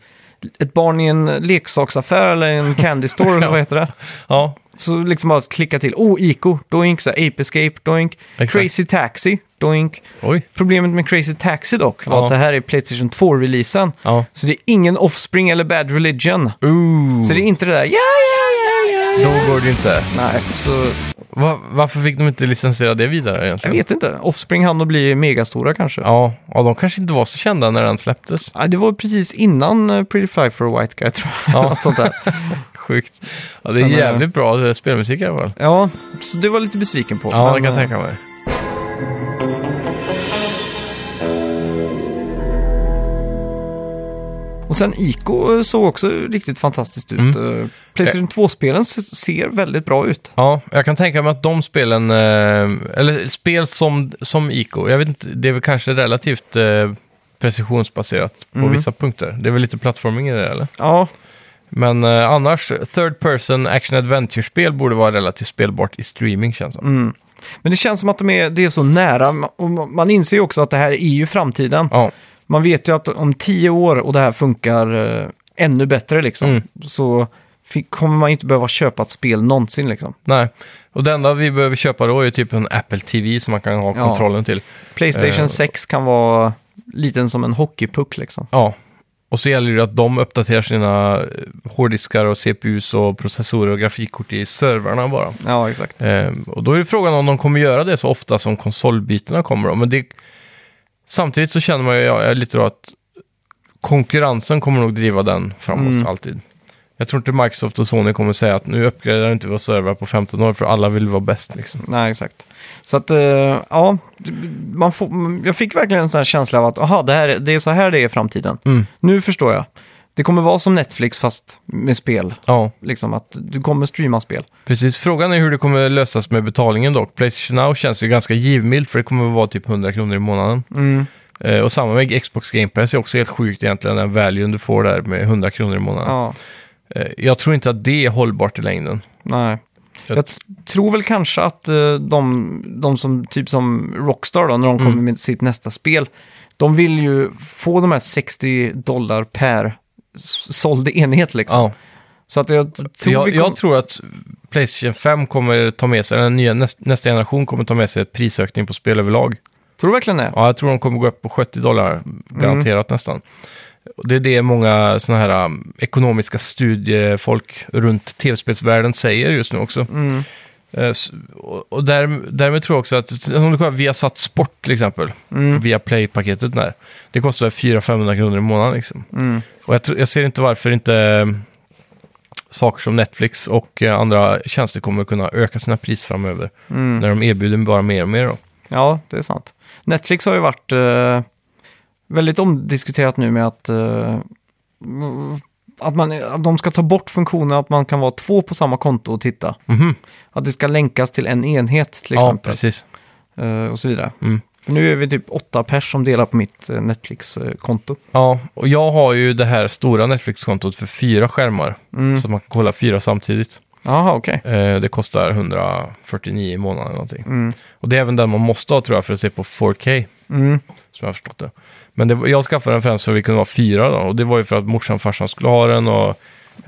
A: ett barn i en leksaksaffär eller en candy store, eller vad heter det?
B: Ja,
A: Så liksom bara klicka till, oh, Ico, doink, så här, Ape Escape, doink,
B: Exakt.
A: Crazy Taxi, doink.
B: oj.
A: Problemet med Crazy Taxi dock var
B: Ja.
A: att det här är Playstation 2-releasen.
B: Ja.
A: Så det är ingen Offspring eller Bad Religion.
B: Ooh.
A: Så det är inte det där, ja, ja, ja, ja,
B: Mm. Då
A: ja.
B: går det ju inte.
A: Nej, så
B: Va varför fick de inte licensiera det vidare
A: jag
B: egentligen?
A: vet inte. Offspring hann att bli megastora kanske.
B: Ja, ja, de kanske inte var så kända när den släpptes.
A: Ja, det var precis innan eh, Pretty Fly for a White Guy, tror jag.
B: Ja.
A: Något sånt där.
B: Sjukt. Ja, det är
A: Men, eh,
B: jävligt bra eh, spelmusik i alla fall.
A: Ja, så det var lite besviken på.
B: Ja,
A: men,
B: det kan jag
A: eh,
B: tänka mig.
A: Och sen Ico eh, såg också riktigt fantastiskt ut.
B: Mm.
A: Eh, Playstation 2-spelen s- ser väldigt bra ut.
B: Ja, jag kan tänka mig att de spelen, eh, eller spel som, som ICO, jag vet inte, det är väl kanske relativt eh, precisionsbaserat på
A: Mm.
B: vissa punkter. Det är väl lite plattforming i det eller?
A: Ja,
B: Men eh, annars, third person action adventure-spel borde vara relativt spelbart i streaming känns det som.
A: mm. Men det känns som att de är, det är så nära. Ma- Och ma- man inser ju också att det här är ju framtiden.
B: Ja.
A: Man vet ju att om tio år och det här funkar eh, ännu bättre liksom,
B: Mm.
A: så fick, kommer man inte behöva köpa ett spel någonsin liksom.
B: Nej, och det enda vi behöver köpa då är typ en Apple TV som man kan ha
A: Ja.
B: kontrollen till.
A: Playstation
B: Eh.
A: 6 kan vara liten som en hockeypuck liksom.
B: Ja, och så gäller det ju att de uppdaterar sina eh, hårddiskar och CPUs och processorer och grafikkort i servrarna bara.
A: Ja, exakt.
B: Ehm, och då är det frågan om de kommer göra det så ofta som konsolbytena kommer då. Men det, samtidigt så känner man ju ja, jag är lite då att konkurrensen kommer nog driva den framåt
A: Mm.
B: alltid. Jag tror inte Microsoft och Sony kommer säga att nu uppgraderar inte våra servrar på 15 år för alla vill vara bäst liksom.
A: Nej, exakt. Så att, eh, ja, d- man får, m- jag fick verkligen en sån här känsla av att, aha, det, här, det är så här det är i framtiden.
B: Mm.
A: Nu förstår jag. Det kommer vara som Netflix fast med spel,
B: Ja.
A: liksom att du kommer streama spel.
B: Precis, frågan är hur det kommer lösas med betalningen dock. Playstation Now känns ju ganska givmilt för det kommer vara typ 100 kronor i månaden.
A: Mm.
B: Eh, och samma med Xbox Game Pass är också helt sjukt egentligen, den valuen du får där med 100 kronor i månaden.
A: Ja,
B: Eh, jag tror inte att det är hållbart i längden.
A: nej.
B: Jag-
A: Jag t- tror väl kanske att eh, de, de som, typ som Rockstar då, när de
B: Mm.
A: kommer med sitt nästa spel, de vill ju få de här 60 dollar per s- såld enhet liksom.
B: Ja.
A: Så att jag t-
B: Så
A: tror
B: jag,
A: vi
B: jag
A: kom-
B: tror att Playstation 5 kommer ta med sig, eller den nya, näst, nästa generation kommer ta med sig ett prisökning på spel överlag.
A: tror du verkligen det?
B: Ja, jag tror de kommer gå upp på 70 dollar, garanterat
A: Mm.
B: nästan. Och Det är det många sådana här um, ekonomiska studiefolk runt tv-spelsvärlden säger just nu också.
A: Mm.
B: Eh, s- Och och där, därmed tror jag också att, som du kollar, Viasat Sport till exempel,
A: Mm.
B: via Play-paketet där, det kostar 400-500 kronor i månaden liksom.
A: Mm.
B: Och jag, tror- jag ser inte varför inte eh, saker som Netflix och eh, andra tjänster kommer kunna öka sina priser framöver.
A: Mm.
B: När de erbjuder bara mer och mer då.
A: Ja, det är sant. Netflix har ju varit eh, väldigt omdiskuterat nu med att, eh, v- att, man, att de ska ta bort funktionen att man kan vara två på samma konto och titta.
B: Mhm.
A: Att det ska länkas till en enhet till
B: Ja,
A: exempel.
B: precis.
A: eh, och så vidare.
B: Mm.
A: För nu är vi typ åtta pers som delar på mitt eh, Netflix-konto.
B: Ja, och jag har ju det här stora Netflix-kontot för fyra skärmar.
A: Mm.
B: Så att man kan kolla fyra samtidigt.
A: Jaha, okej.
B: Eh, det kostar 149 i månaden eller någonting.
A: Mm.
B: Och det är även den man måste ha tror jag för att se på 4K.
A: Mm.
B: Som jag har förstått det. Men det, var- jag skaffade den främst för att vi kunde vara fyra då. Och det var ju för att morsan och farsan skulle ha den och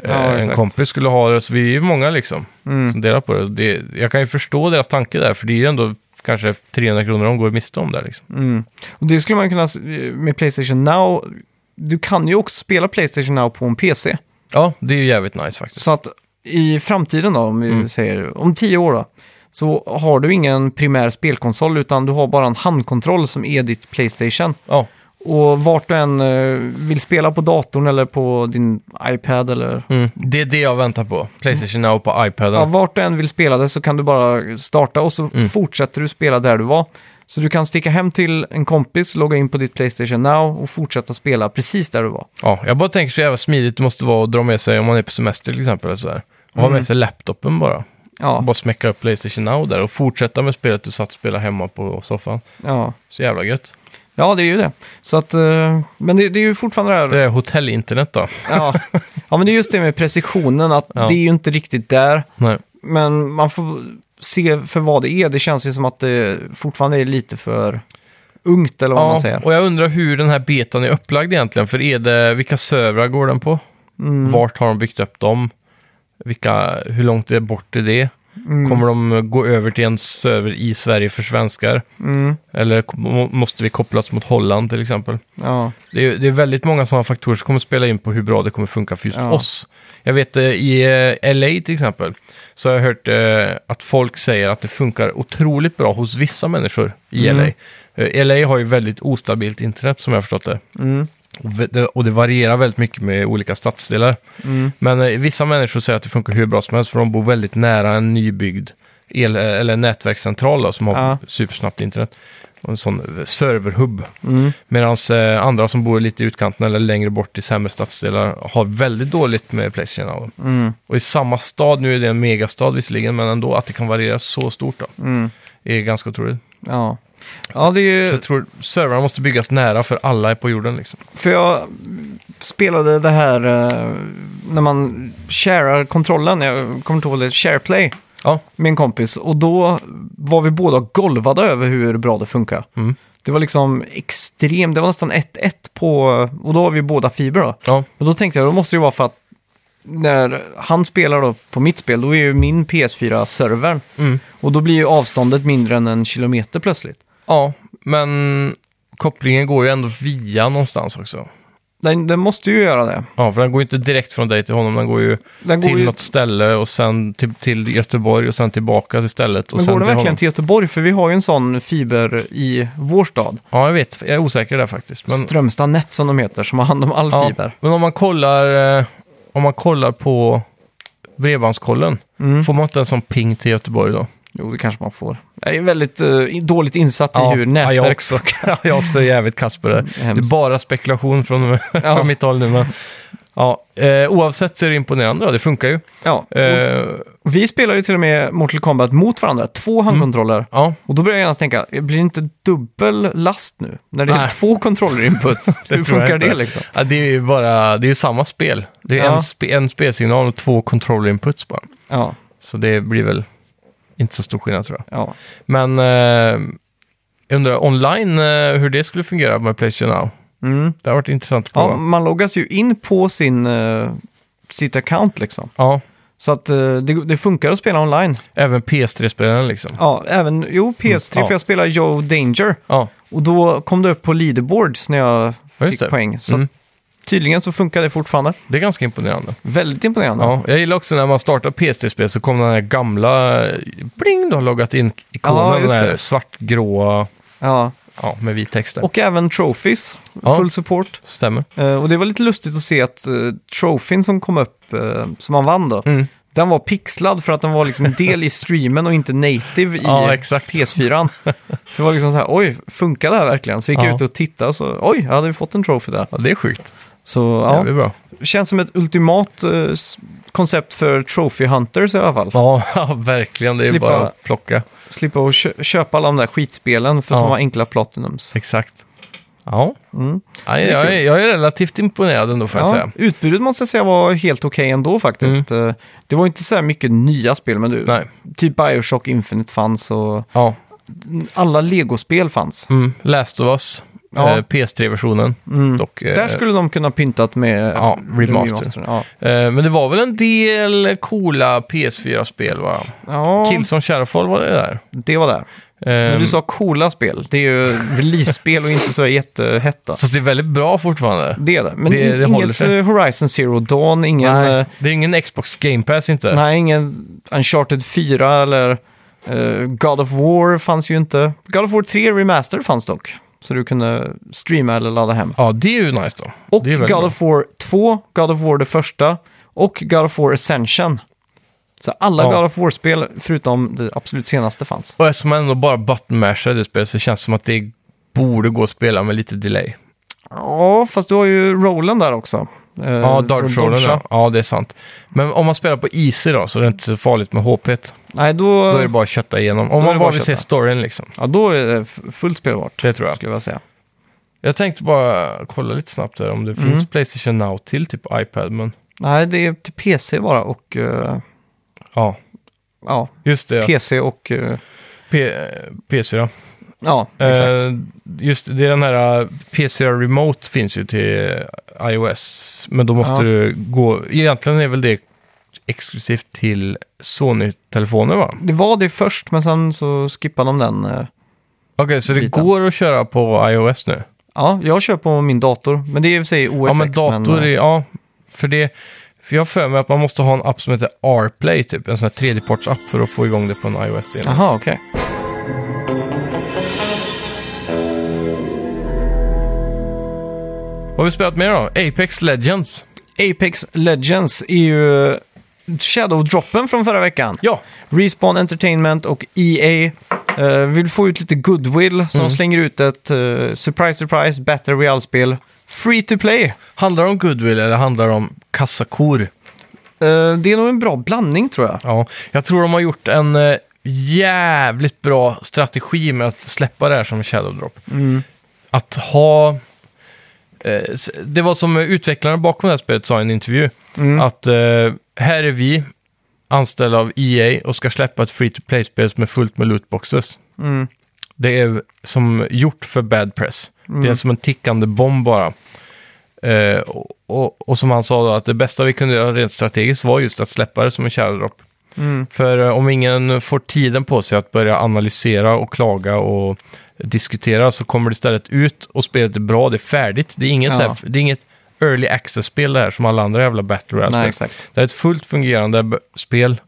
B: eh, en
A: exakt.
B: kompis skulle ha det. Så vi är ju många liksom
A: Mm.
B: som delar på det. det. Jag kan ju förstå deras tanke där. För det är ju ändå kanske 300 kronor de går miste om där liksom.
A: Mm. Och det skulle man kunna s- med Playstation Now. Du kan ju också spela Playstation Now på en PC.
B: Ja, det är ju jävligt nice faktiskt.
A: Så att i framtiden då, om vi
B: Mm.
A: säger om tio år då, så har du ingen primär spelkonsol utan du har bara en handkontroll som är ditt Playstation.
B: Ja,
A: Och vart du än eh, vill spela på datorn eller på din iPad eller
B: mm. det är det jag väntar på. Playstation Now på iPaden.
A: ja, vart du än vill spela det så kan du bara starta och så
B: Mm.
A: fortsätter du spela där du var. Så du kan sticka hem till en kompis, logga in på ditt Playstation Now och fortsätta spela precis där du var.
B: Ja, jag bara tänker så jävla smidigt det måste vara att dra med sig om man är på semester till exempel. Eller så där. Och ha med sig laptopen bara. Och
A: Mm. Ja,
B: bara smäcka upp Playstation Now där och fortsätta med spelet du satt och spelade hemma på soffan.
A: ja.
B: Så jävla gött.
A: ja det är ju det. Så att, eh, men det, det är ju fortfarande det här.
B: Det är hotellinternet då.
A: Ja. ja, men det är just det med precisionen, att
B: Ja.
A: det är ju inte riktigt där.
B: Nej.
A: Men man får se för vad det är. Det känns ju som att det fortfarande är lite för ungt, eller vad man
B: Ja,
A: säger.
B: och jag undrar hur den här betan är upplagd egentligen. För är det, vilka servrar går den på?
A: Mm.
B: Vart har de byggt upp dem? Vilka, hur långt är bort är det?
A: mm,
B: Kommer de gå över till en server i Sverige för svenskar?
A: Mm.
B: Eller må- måste vi kopplas mot Holland till exempel?
A: Ja.
B: Det är, det är väldigt många sådana faktorer som kommer spela in på hur bra det kommer funka för just
A: Ja.
B: oss. Jag vet eh, i eh, LA till exempel så har jag hört eh, att folk säger att det funkar otroligt bra hos vissa människor i
A: Mm.
B: LA. Eh, LA har ju väldigt ostabilt internet som jag har förstått det.
A: Mm.
B: Och ve- det- Och det varierar väldigt mycket med olika stadsdelar.
A: Mm.
B: Men eh, vissa människor säger att det funkar hur bra som helst för de bor väldigt nära en nybyggd el eller nätverkscentral då, som har
A: Ja.
B: supersnabbt internet. Och en sån eh, serverhubb.
A: Mm.
B: Medan eh, andra som bor lite i utkanten eller längre bort i sämre stadsdelar har väldigt dåligt med Playstation Now.
A: Mm.
B: Och i samma stad, nu är det en megastad visserligen, men ändå att det kan variera så stort då,
A: Mm.
B: är ganska otroligt.
A: Ja. Ja, det är
B: Så
A: ju...
B: jag tror servrarna måste byggas nära för alla är på jorden liksom.
A: För jag spelade det här eh, när man sharear kontrollen, jag kommer inte ihåg det, SharePlay.
B: Ja,
A: med en kompis och då var vi båda golvade över hur bra det funkar.
B: Mm.
A: Det var liksom extremt, det var nästan 1-1 på, och då har vi båda fiber då.
B: ja,
A: Men då tänkte jag, då måste det ju vara för att när han spelar då på mitt spel, då är ju min PS4 servern.
B: Mm.
A: Och då blir ju avståndet mindre än en kilometer plötsligt.
B: ja, men kopplingen går ju ändå via någonstans också.
A: Den, den måste ju göra det.
B: Ja, för den går ju inte direkt från dig till honom, den går ju
A: Den
B: till
A: går ju,
B: något ställe och sen till, till Göteborg och sen tillbaka till stället. Och
A: men
B: sen
A: går den
B: till
A: verkligen
B: honom.
A: till Göteborg? För vi har ju en sån fiber i vår stad.
B: Ja, jag vet. Jag är osäker där faktiskt. Men,
A: Strömstad Net som de heter, som har hand om all
B: ja,
A: fiber.
B: men om man kollar, eh, om man kollar på Bredbandskollen,
A: Mm.
B: får man inte en sån ping till Göteborg då?
A: Jo, det kanske man får. Jag är väldigt eh, dåligt insatt i hur nätverk...
B: Ja, jag också. jag är också jävligt kass på det. här. Det är
A: Mm, Hemskt.
B: bara spekulation från,
A: Ja.
B: från mitt håll nu. Men, ja, eh, oavsett så är det imponerande, då. det funkar ju.
A: Ja, och
B: Eh,
A: vi spelar ju till och med Mortal Kombat mot varandra,
B: Mm.
A: två handkontroller.
B: ja,
A: Och då börjar jag genast tänka, blir det inte dubbel last nu? När det är
B: Nej.
A: två kontrollerinputs, hur
B: tror jag
A: funkar
B: inte.
A: det liksom?
B: ja, det är ju bara, det är ju samma spel. Det är
A: Ja.
B: en, spe, en spelsignal och två controller inputs bara.
A: Ja,
B: Så det blir väl inte så stor skillnad tror jag.
A: ja.
B: Men eh, jag undrar online eh, hur det skulle fungera med PlayStation Now.
A: Mm.
B: Det har varit intressant att
A: ja
B: prova.
A: man loggas ju in på sin, eh, sitt account liksom.
B: Ja,
A: Så att eh, det, det funkar att spela online.
B: även PS3-spelaren liksom.
A: Ja, även, jo, PS3,
B: Mm, ja.
A: för jag spelar Joe Danger.
B: Ja,
A: Och då kom det upp på leaderboards när jag
B: Ja, just
A: fick
B: det.
A: poäng. Så
B: Mm.
A: att tydligen så funkar det fortfarande.
B: det är ganska imponerande.
A: Väldigt imponerande.
B: Ja, jag gillar också när man startar PS3-spel så kommer den här gamla, eh, bling, du har loggat in
A: Ja,
B: ikonen,
A: just
B: den här
A: det.
B: svartgråa,
A: Ja.
B: ja, med vit text där.
A: Och även trophies,
B: Ja.
A: full support.
B: Stämmer.
A: Eh, och det var lite lustigt att se att uh, trofin som kom upp, eh, som man vann då,
B: Mm.
A: den var pixlad för att den var liksom en del i streamen och inte native i
B: Ja, exakt.
A: PS4. Så det var liksom så här, oj, funkar det här verkligen? Så gick jag
B: Ja.
A: ut och tittade och så, oj, jag hade ju fått en trophy där.
B: Ja, det är sjukt.
A: Så
B: Ja.
A: ja,
B: Det är bra.
A: känns som ett ultimat eh, s- koncept för trophy hunters i alla fall.
B: Ja, ja, verkligen. Det är ju
A: Slippa-
B: bara att plocka.
A: Slippa att kö- köpa alla de där skitspelen för
B: Ja.
A: som var enkla platinums.
B: Exakt. Ja,
A: Mm.
B: ja
A: det är
B: jag,
A: kul.
B: är, jag är relativt imponerad ändå får jag
A: Ja,
B: säga. Mm.
A: utbudet måste jag säga var helt okej ändå faktiskt. Eh, Det var inte så här mycket nya spel, men du,
B: Nej.
A: typ Bioshock Infinite fanns och
B: Ja,
A: alla Lego-spel fanns.
B: mm. Last of Us,
A: Ja. Mm.
B: eh, PS3-versionen dock. Eh,
A: Där skulle de kunna pyntat med
B: Ja, remaster.
A: remastern. Ja.
B: eh, men det var väl en del coola PS4-spel va?
A: ja,
B: Killzone Shadowfall var det där.
A: det var där.
B: Eh,
A: Men du sa coola spel. Det är ju release-spel och inte så jättehetta.
B: Fast det är väldigt bra fortfarande.
A: Det är det. Men
B: Det- det håller
A: inget
B: sig.
A: eh, Horizon Zero Dawn, ingen, eh, nej.
B: Det är ingen Xbox Game Pass inte.
A: nej, ingen Uncharted 4 eller eh, God of War fanns ju inte. God of War 3 Remaster fanns dock. Så du kunde streama eller ladda hem.
B: Ja, det är ju nice då.
A: Och
B: det är
A: God
B: väldigt
A: of War 2, God of War det första och God of War Ascension. Så alla
B: Ja.
A: God of War-spel förutom det absolut senaste fanns.
B: bra. Och eftersom man ändå bara button mashar i det spelet så känns det som att det borde gå att spela med lite delay.
A: Ja, fast du har ju Roland där också. eh,
B: Ja,
A: från
B: Dark Shroud,
A: Dodge,
B: ja. ja, det är sant. Men om man spelar på IC då, så är det inte så farligt med HP. -et.
A: Nej, då,
B: Då är det bara att kötta igenom.
A: är
B: Om
A: det
B: man
A: bara
B: bara
A: att
B: vill se
A: kötta.
B: storyn liksom.
A: ja, då är det f- fullt spelbart,
B: Det tror jag.
A: skulle jag säga.
B: Jag tänkte bara kolla lite snabbt där om det finns Playstation Now till typ iPad, men
A: Nej, det är till PC bara och... eh,
B: ja.
A: ja,
B: Just det, ja.
A: PC och... eh,
B: P- PS4.
A: ja, exakt.
B: Eh, just det, det är den här eh, PS4 Remote finns ju till eh, iOS, men då måste
A: Ja.
B: du gå... Egentligen är väl det exklusivt till Sony-telefoner va?
A: Det var det först, men sen så skippade de den. eh.
B: Okej, så det
A: Biten.
B: går att köra på iOS nu?
A: ja, jag kör på min dator, men det är i och för sig OS
B: ja, men dator
A: eh,
B: är... Ja, för det... För jag har för mig att man måste ha en app som heter R-Play, typ. En sån här tredjepartsapp för att få igång det på en iOS. igen.
A: Jaha, okej.
B: Vad har vi spelat mer då? Apex Legends.
A: Apex Legends är ju eh, Shadow-droppen från förra veckan.
B: Ja,
A: Respawn Entertainment och EA eh, vill få ut lite goodwill,
B: Mm.
A: så de slänger ut ett eh, surprise, surprise, battle royale-spel. Free to play.
B: handlar det om goodwill eller handlar det om kassakor?
A: Eh, det är nog en bra blandning tror jag.
B: Ja, jag tror de har gjort en eh, jävligt bra strategi med att släppa det här som Shadow Drop. Att ha... eh, s- Det var som utvecklaren bakom det här spelet sa i en intervju. Att eh, här är vi, anställd av EA och ska släppa ett free-to-play-spel som är fullt med lootboxes.
A: Mm.
B: Det är som gjort för bad press. Det
A: Mm.
B: är som en tickande bomb bara. Eh, och, och, och som han sa då, att det bästa vi kunde göra rent strategiskt var just att släppa det som en kärldropp.
A: Mm.
B: För eh, om ingen får tiden på sig att börja analysera och klaga och diskutera så kommer det istället ut och spelet är bra, det är färdigt. Det är, ingen
A: Ja.
B: så här, det är inget early access-spel det här som alla andra jävla battle
A: Nej,
B: royale-spel.
A: exakt. Mm.
B: Det är ett fullt fungerande b- spel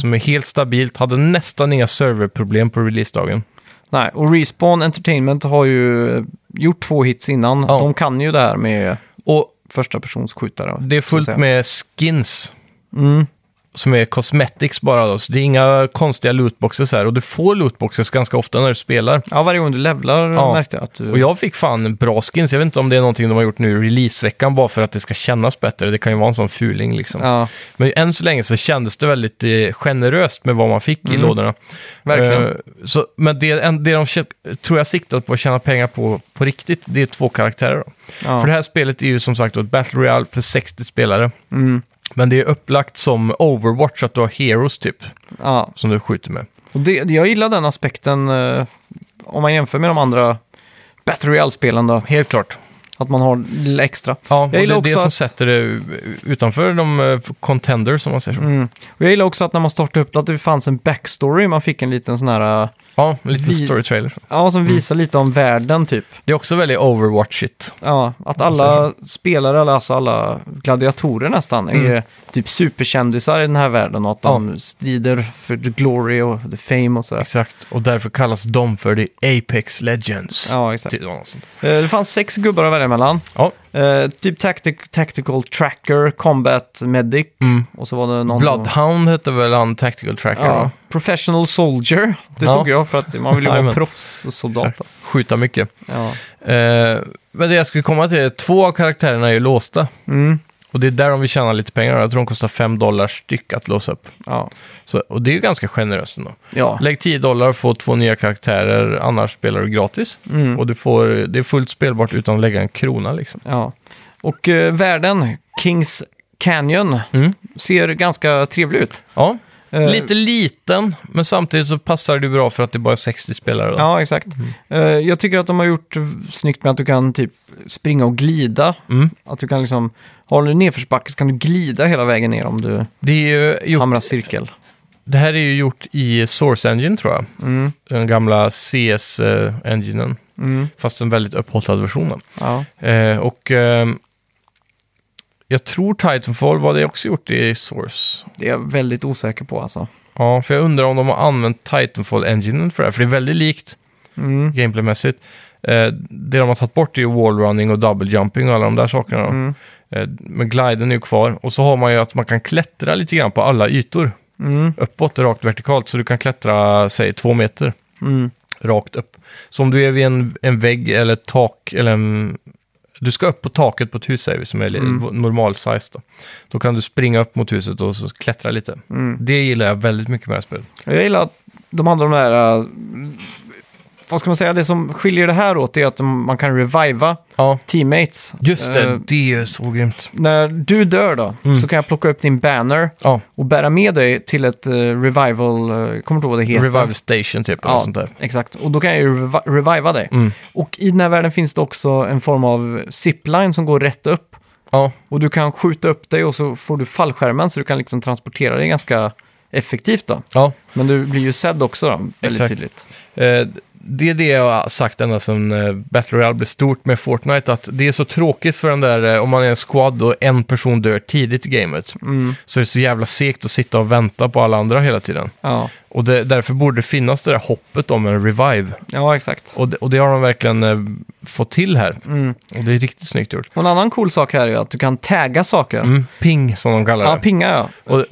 B: som är helt stabilt, hade nästan inga serverproblem på releasedagen.
A: Nej, och Respawn Entertainment har ju eh, gjort två hits innan.
B: Ja.
A: De kan ju det här med
B: Och
A: första persons skjutare.
B: Det är
A: så att
B: fullt
A: säga.
B: med skins.
A: Mm.
B: Som är cosmetics bara då, så det är inga konstiga lootboxes här. Och du får lootboxes ganska ofta när du spelar.
A: Ja, varje gång du levlar
B: Ja.
A: märkte jag att du...
B: Och jag fick fan bra skins. Jag vet inte om det är någonting de har gjort nu i releaseveckan bara för att det ska kännas bättre. Det kan ju vara en sån fuling liksom.
A: Ja,
B: Men än så länge så kändes det väldigt eh, generöst med vad man fick i lådorna.
A: Mm. verkligen.
B: Eh, så, men det, en, det de kä- tror jag siktat på att tjäna pengar på på riktigt, det är två karaktärer. Då.
A: ja.
B: För det här spelet är ju som sagt då ett Battle Royale för 60 spelare.
A: Mm.
B: Men det är upplagt som Overwatch, att du har heroes typ,
A: ja.
B: som du skjuter med.
A: Och det, jag gillar den aspekten eh, om man jämför med de andra Battle Royale-spelen då.
B: Helt klart.
A: Att man har lite extra.
B: Ja, och det
A: gillar
B: är
A: också
B: det som
A: att-
B: sätter det utanför de eh, contenders, som man säger så.
A: Mm. Och jag gillar också att när man startade upp det, att det fanns en backstory. Man fick en liten sån här... eh,
B: Ja, en liten
A: Vi-
B: story trailer.
A: Ja,
B: Mm.
A: som visar lite om världen typ.
B: Det är också väldigt Overwatch-igt.
A: Ja, att alla spelare, eller alltså alla gladiatorer nästan,
B: Mm.
A: är typ superkändisar i den här världen och att de strider för the glory och the fame och sådär.
B: Exakt, och därför kallas de för The Apex Legends.
A: Ja, exakt.
B: Typ något sånt.
A: Eh, Det fanns sex gubbar att välja mellan.
B: Ja,
A: Eh, typ tactic, Tactical Tracker, Combat Medic
B: Mm.
A: och så var det någon...
B: Bloodhound hette väl han Tactical Tracker?
A: Ja,
B: Ja.
A: professional Soldier. Det
B: Ja.
A: tog jag för att man vill ju vara en
B: Jajamän.
A: proffssoldat. då.
B: Skjuta mycket.
A: Ja.
B: Eh, men det jag skulle komma till är att två av karaktärerna är ju låsta.
A: Mm.
B: Och det är där de vill tjäna lite pengar. Jag tror de kostar 5 dollar styck att låsa upp.
A: Ja.
B: Så, och det är ju ganska generöst ändå.
A: Ja.
B: Lägg 10 dollar och få två nya karaktärer, annars spelar du gratis.
A: Mm.
B: Och du får, det är fullt spelbart utan att lägga en krona liksom.
A: ja. Och eh, världen, Kings Canyon,
B: Mm.
A: ser ganska trevlig ut.
B: Ja,
A: Eh,
B: lite liten, men samtidigt så passar det ju bra för att det bara är 60 spelare. Då.
A: Ja, exakt.
B: Mm.
A: Eh, jag tycker att de har gjort eh, snyggt med att du kan typ springa och glida.
B: Mm.
A: Att du kan liksom, har du nedförsbacke så kan du glida hela vägen ner om du
B: Det, är ju gjort,
A: hamrar cirkel.
B: det här är ju gjort i Source Engine tror jag.
A: Mm.
B: Den gamla CS-enginen,
A: Mm.
B: fast en väldigt upphottad version. då.
A: Ja.
B: Eh, och ehm, jag tror Titanfall var det också gjort i Source.
A: Det är jag väldigt osäker på alltså.
B: Ja, för jag undrar om de har använt Titanfall-enginen för det här, för det är väldigt likt
A: Mm.
B: gameplaymässigt. Eh, det de har tagit bort är ju wallrunning och double jumping och alla de där sakerna. då.
A: Mm.
B: Eh, men gliden är ju kvar. Och så har man ju att man kan klättra lite grann på alla ytor.
A: Mm.
B: Uppåt, rakt vertikalt. Så du kan klättra, säg två meter
A: Mm.
B: rakt upp. Så om du är vid en, en vägg eller ett tak eller en... Du ska upp på taket på ett hus, säger vi, som är mm. normal size. Då. då kan du springa upp mot huset och så klättra lite.
A: Mm.
B: Det gillar jag väldigt mycket med det här spelet.
A: Jag gillar att de hade de där, eh, vad ska man säga, det som skiljer det här åt är att de, man kan reviva
B: Ja,
A: teammates.
B: just det. Mm.
A: Eh,
B: det är så grymt.
A: när du dör då, så kan jag plocka upp din banner
B: Ja,
A: och bära med dig till ett eh, revival, eh, kommer du ihåg vad det heter?
B: Revival Station typ, eller
A: Ja,
B: sånt där.
A: exakt. Och då kan jag ju revi- reviva dig.
B: Mm.
A: Och i den här världen finns det också en form av zipline som går rätt upp.
B: Ja,
A: Och du kan skjuta upp dig och så får du fallskärmen så du kan liksom transportera dig ganska effektivt då.
B: ja.
A: Men du blir ju sedd också då, väldigt
B: Exakt.
A: tydligt.
B: Eh, det är det jag har sagt ända sedan eh, Battle Royale blev stort med Fortnite, att det är så tråkigt för den där, eh, om man är en squad och en person dör tidigt i gamet,
A: Mm,
B: så är det så jävla segt att sitta och vänta på alla andra hela tiden.
A: Ja,
B: Och det, därför borde det finnas det där hoppet om en revive.
A: ja exakt.
B: Och det, och det har de verkligen eh, fått till här.
A: Mm.
B: Och det är riktigt snyggt gjort.
A: Och en annan cool sak här är ju att du kan tagga saker.
B: Mm, ping, som de kallar
A: Ja,
B: det.
A: pinga ja.
B: Och, eh,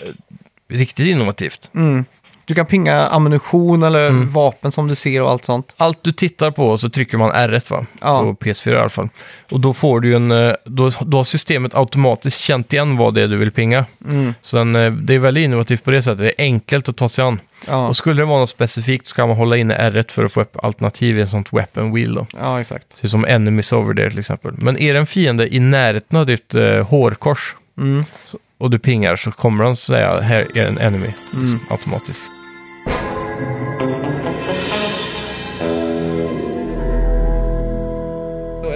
B: riktigt innovativt.
A: Mm. Du kan pinga ammunition eller
B: Mm.
A: vapen som du ser och allt sånt.
B: Allt du tittar på så trycker man R1 va?
A: Ja.
B: På PS4 i alla fall. Och då får du ju en... eh, Då, då har systemet automatiskt känt igen vad det är du vill pinga.
A: Mm.
B: Så den, eh, det är väldigt innovativt på det sättet. Det är enkelt att ta sig an.
A: Ja,
B: Och skulle det vara något specifikt så kan man hålla inne R1 för att få upp alternativ i en sånt weapon wheel då.
A: ja exakt.
B: Så som Enemies Over There till exempel. Men är det en fiende i närheten av ditt eh, hårkors
A: Mm.
B: så, och du pingar så kommer de säga här är en enemy
A: Mm.
B: liksom, automatiskt.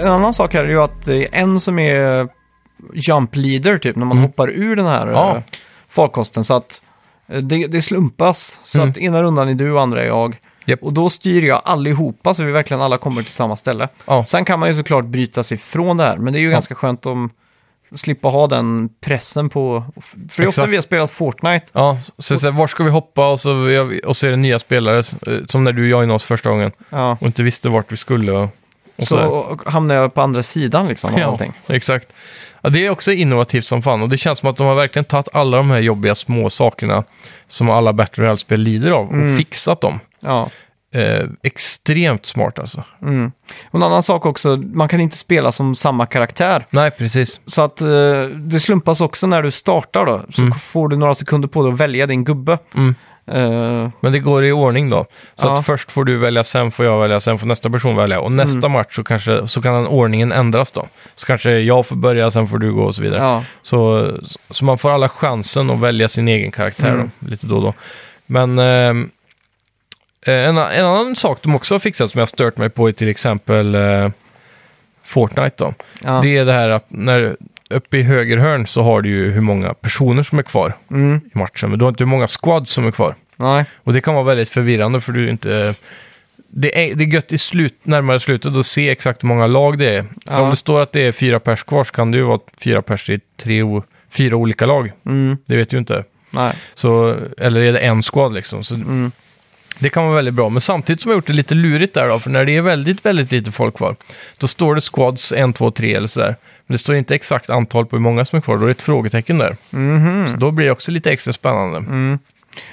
A: En annan sak här är ju att det är en som är jump leader typ när man hoppar ur den här
B: Mm. Ja.
A: eh, farkosten. Så att eh, det, det slumpas. Så
B: Mm.
A: att ena rundan är du och andra är jag.
B: Japp.
A: Och då styr jag allihopa så vi verkligen alla kommer till samma ställe.
B: Ja.
A: Sen kan man ju såklart bryta sig från det här. Men det är ju ganska skönt om slippa ha den pressen på... För det är ofta
B: Exakt.
A: vi har spelat Fortnite.
B: Ja, så, så, så här, var ska vi hoppa och så, och så är det nya spelare, eh, som när du joinade oss första gången
A: Ja.
B: och inte visste vart vi skulle och, och
A: Så
B: där.
A: och hamnar jag på andra sidan liksom av allting.
B: exakt. Ja, det är också innovativt som fan och det känns som att de har verkligen tagit alla de här jobbiga små sakerna som alla Battle Royale-spel lider av och
A: Mm.
B: fixat dem.
A: Ja.
B: Eh, extremt smart alltså.
A: Och en annan sak också, man kan inte spela som samma karaktär.
B: Nej, precis.
A: Så att eh, det slumpas också när du startar då. Så får du några sekunder på dig att välja din gubbe.
B: Mm.
A: Eh,
B: Men det går i ordning då. Så
A: Ja.
B: att först får du välja, sen får jag välja, sen får nästa person välja. Och nästa
A: Mm.
B: match så, kanske, så kan den ordningen ändras då. Så kanske jag får börja, sen får du gå och så vidare.
A: ja.
B: Så, så man får alla chansen att välja sin egen karaktär då, lite då och då. Men ehm, eh, en, en annan sak de också har fixat som jag har stört mig på är till exempel eh, Fortnite då.
A: Ja.
B: Det är det här att när uppe i höger hörn så har du ju hur många personer som är kvar
A: Mm.
B: i matchen. Men du har inte hur många squads som är kvar.
A: Nej.
B: Och det kan vara väldigt förvirrande för du är inte... Det är, det är gött i slut, närmare slutet att se exakt hur många lag det är. För
A: Ja.
B: om det står att det är fyra pers kvar så kan det ju vara fyra pers i tre, o- fyra olika lag.
A: Mm.
B: Det vet du inte.
A: Nej.
B: Så, eller är det en squad liksom. Så Det kan vara väldigt bra. Men samtidigt som jag gjort det lite lurigt där då, för när det är väldigt, väldigt lite folk kvar, då står det squads 1, 2, 3 eller sådär. Men det står inte exakt antal på hur många som är kvar, då är det ett frågetecken där. Så då blir det också lite extra spännande.
A: Mhm.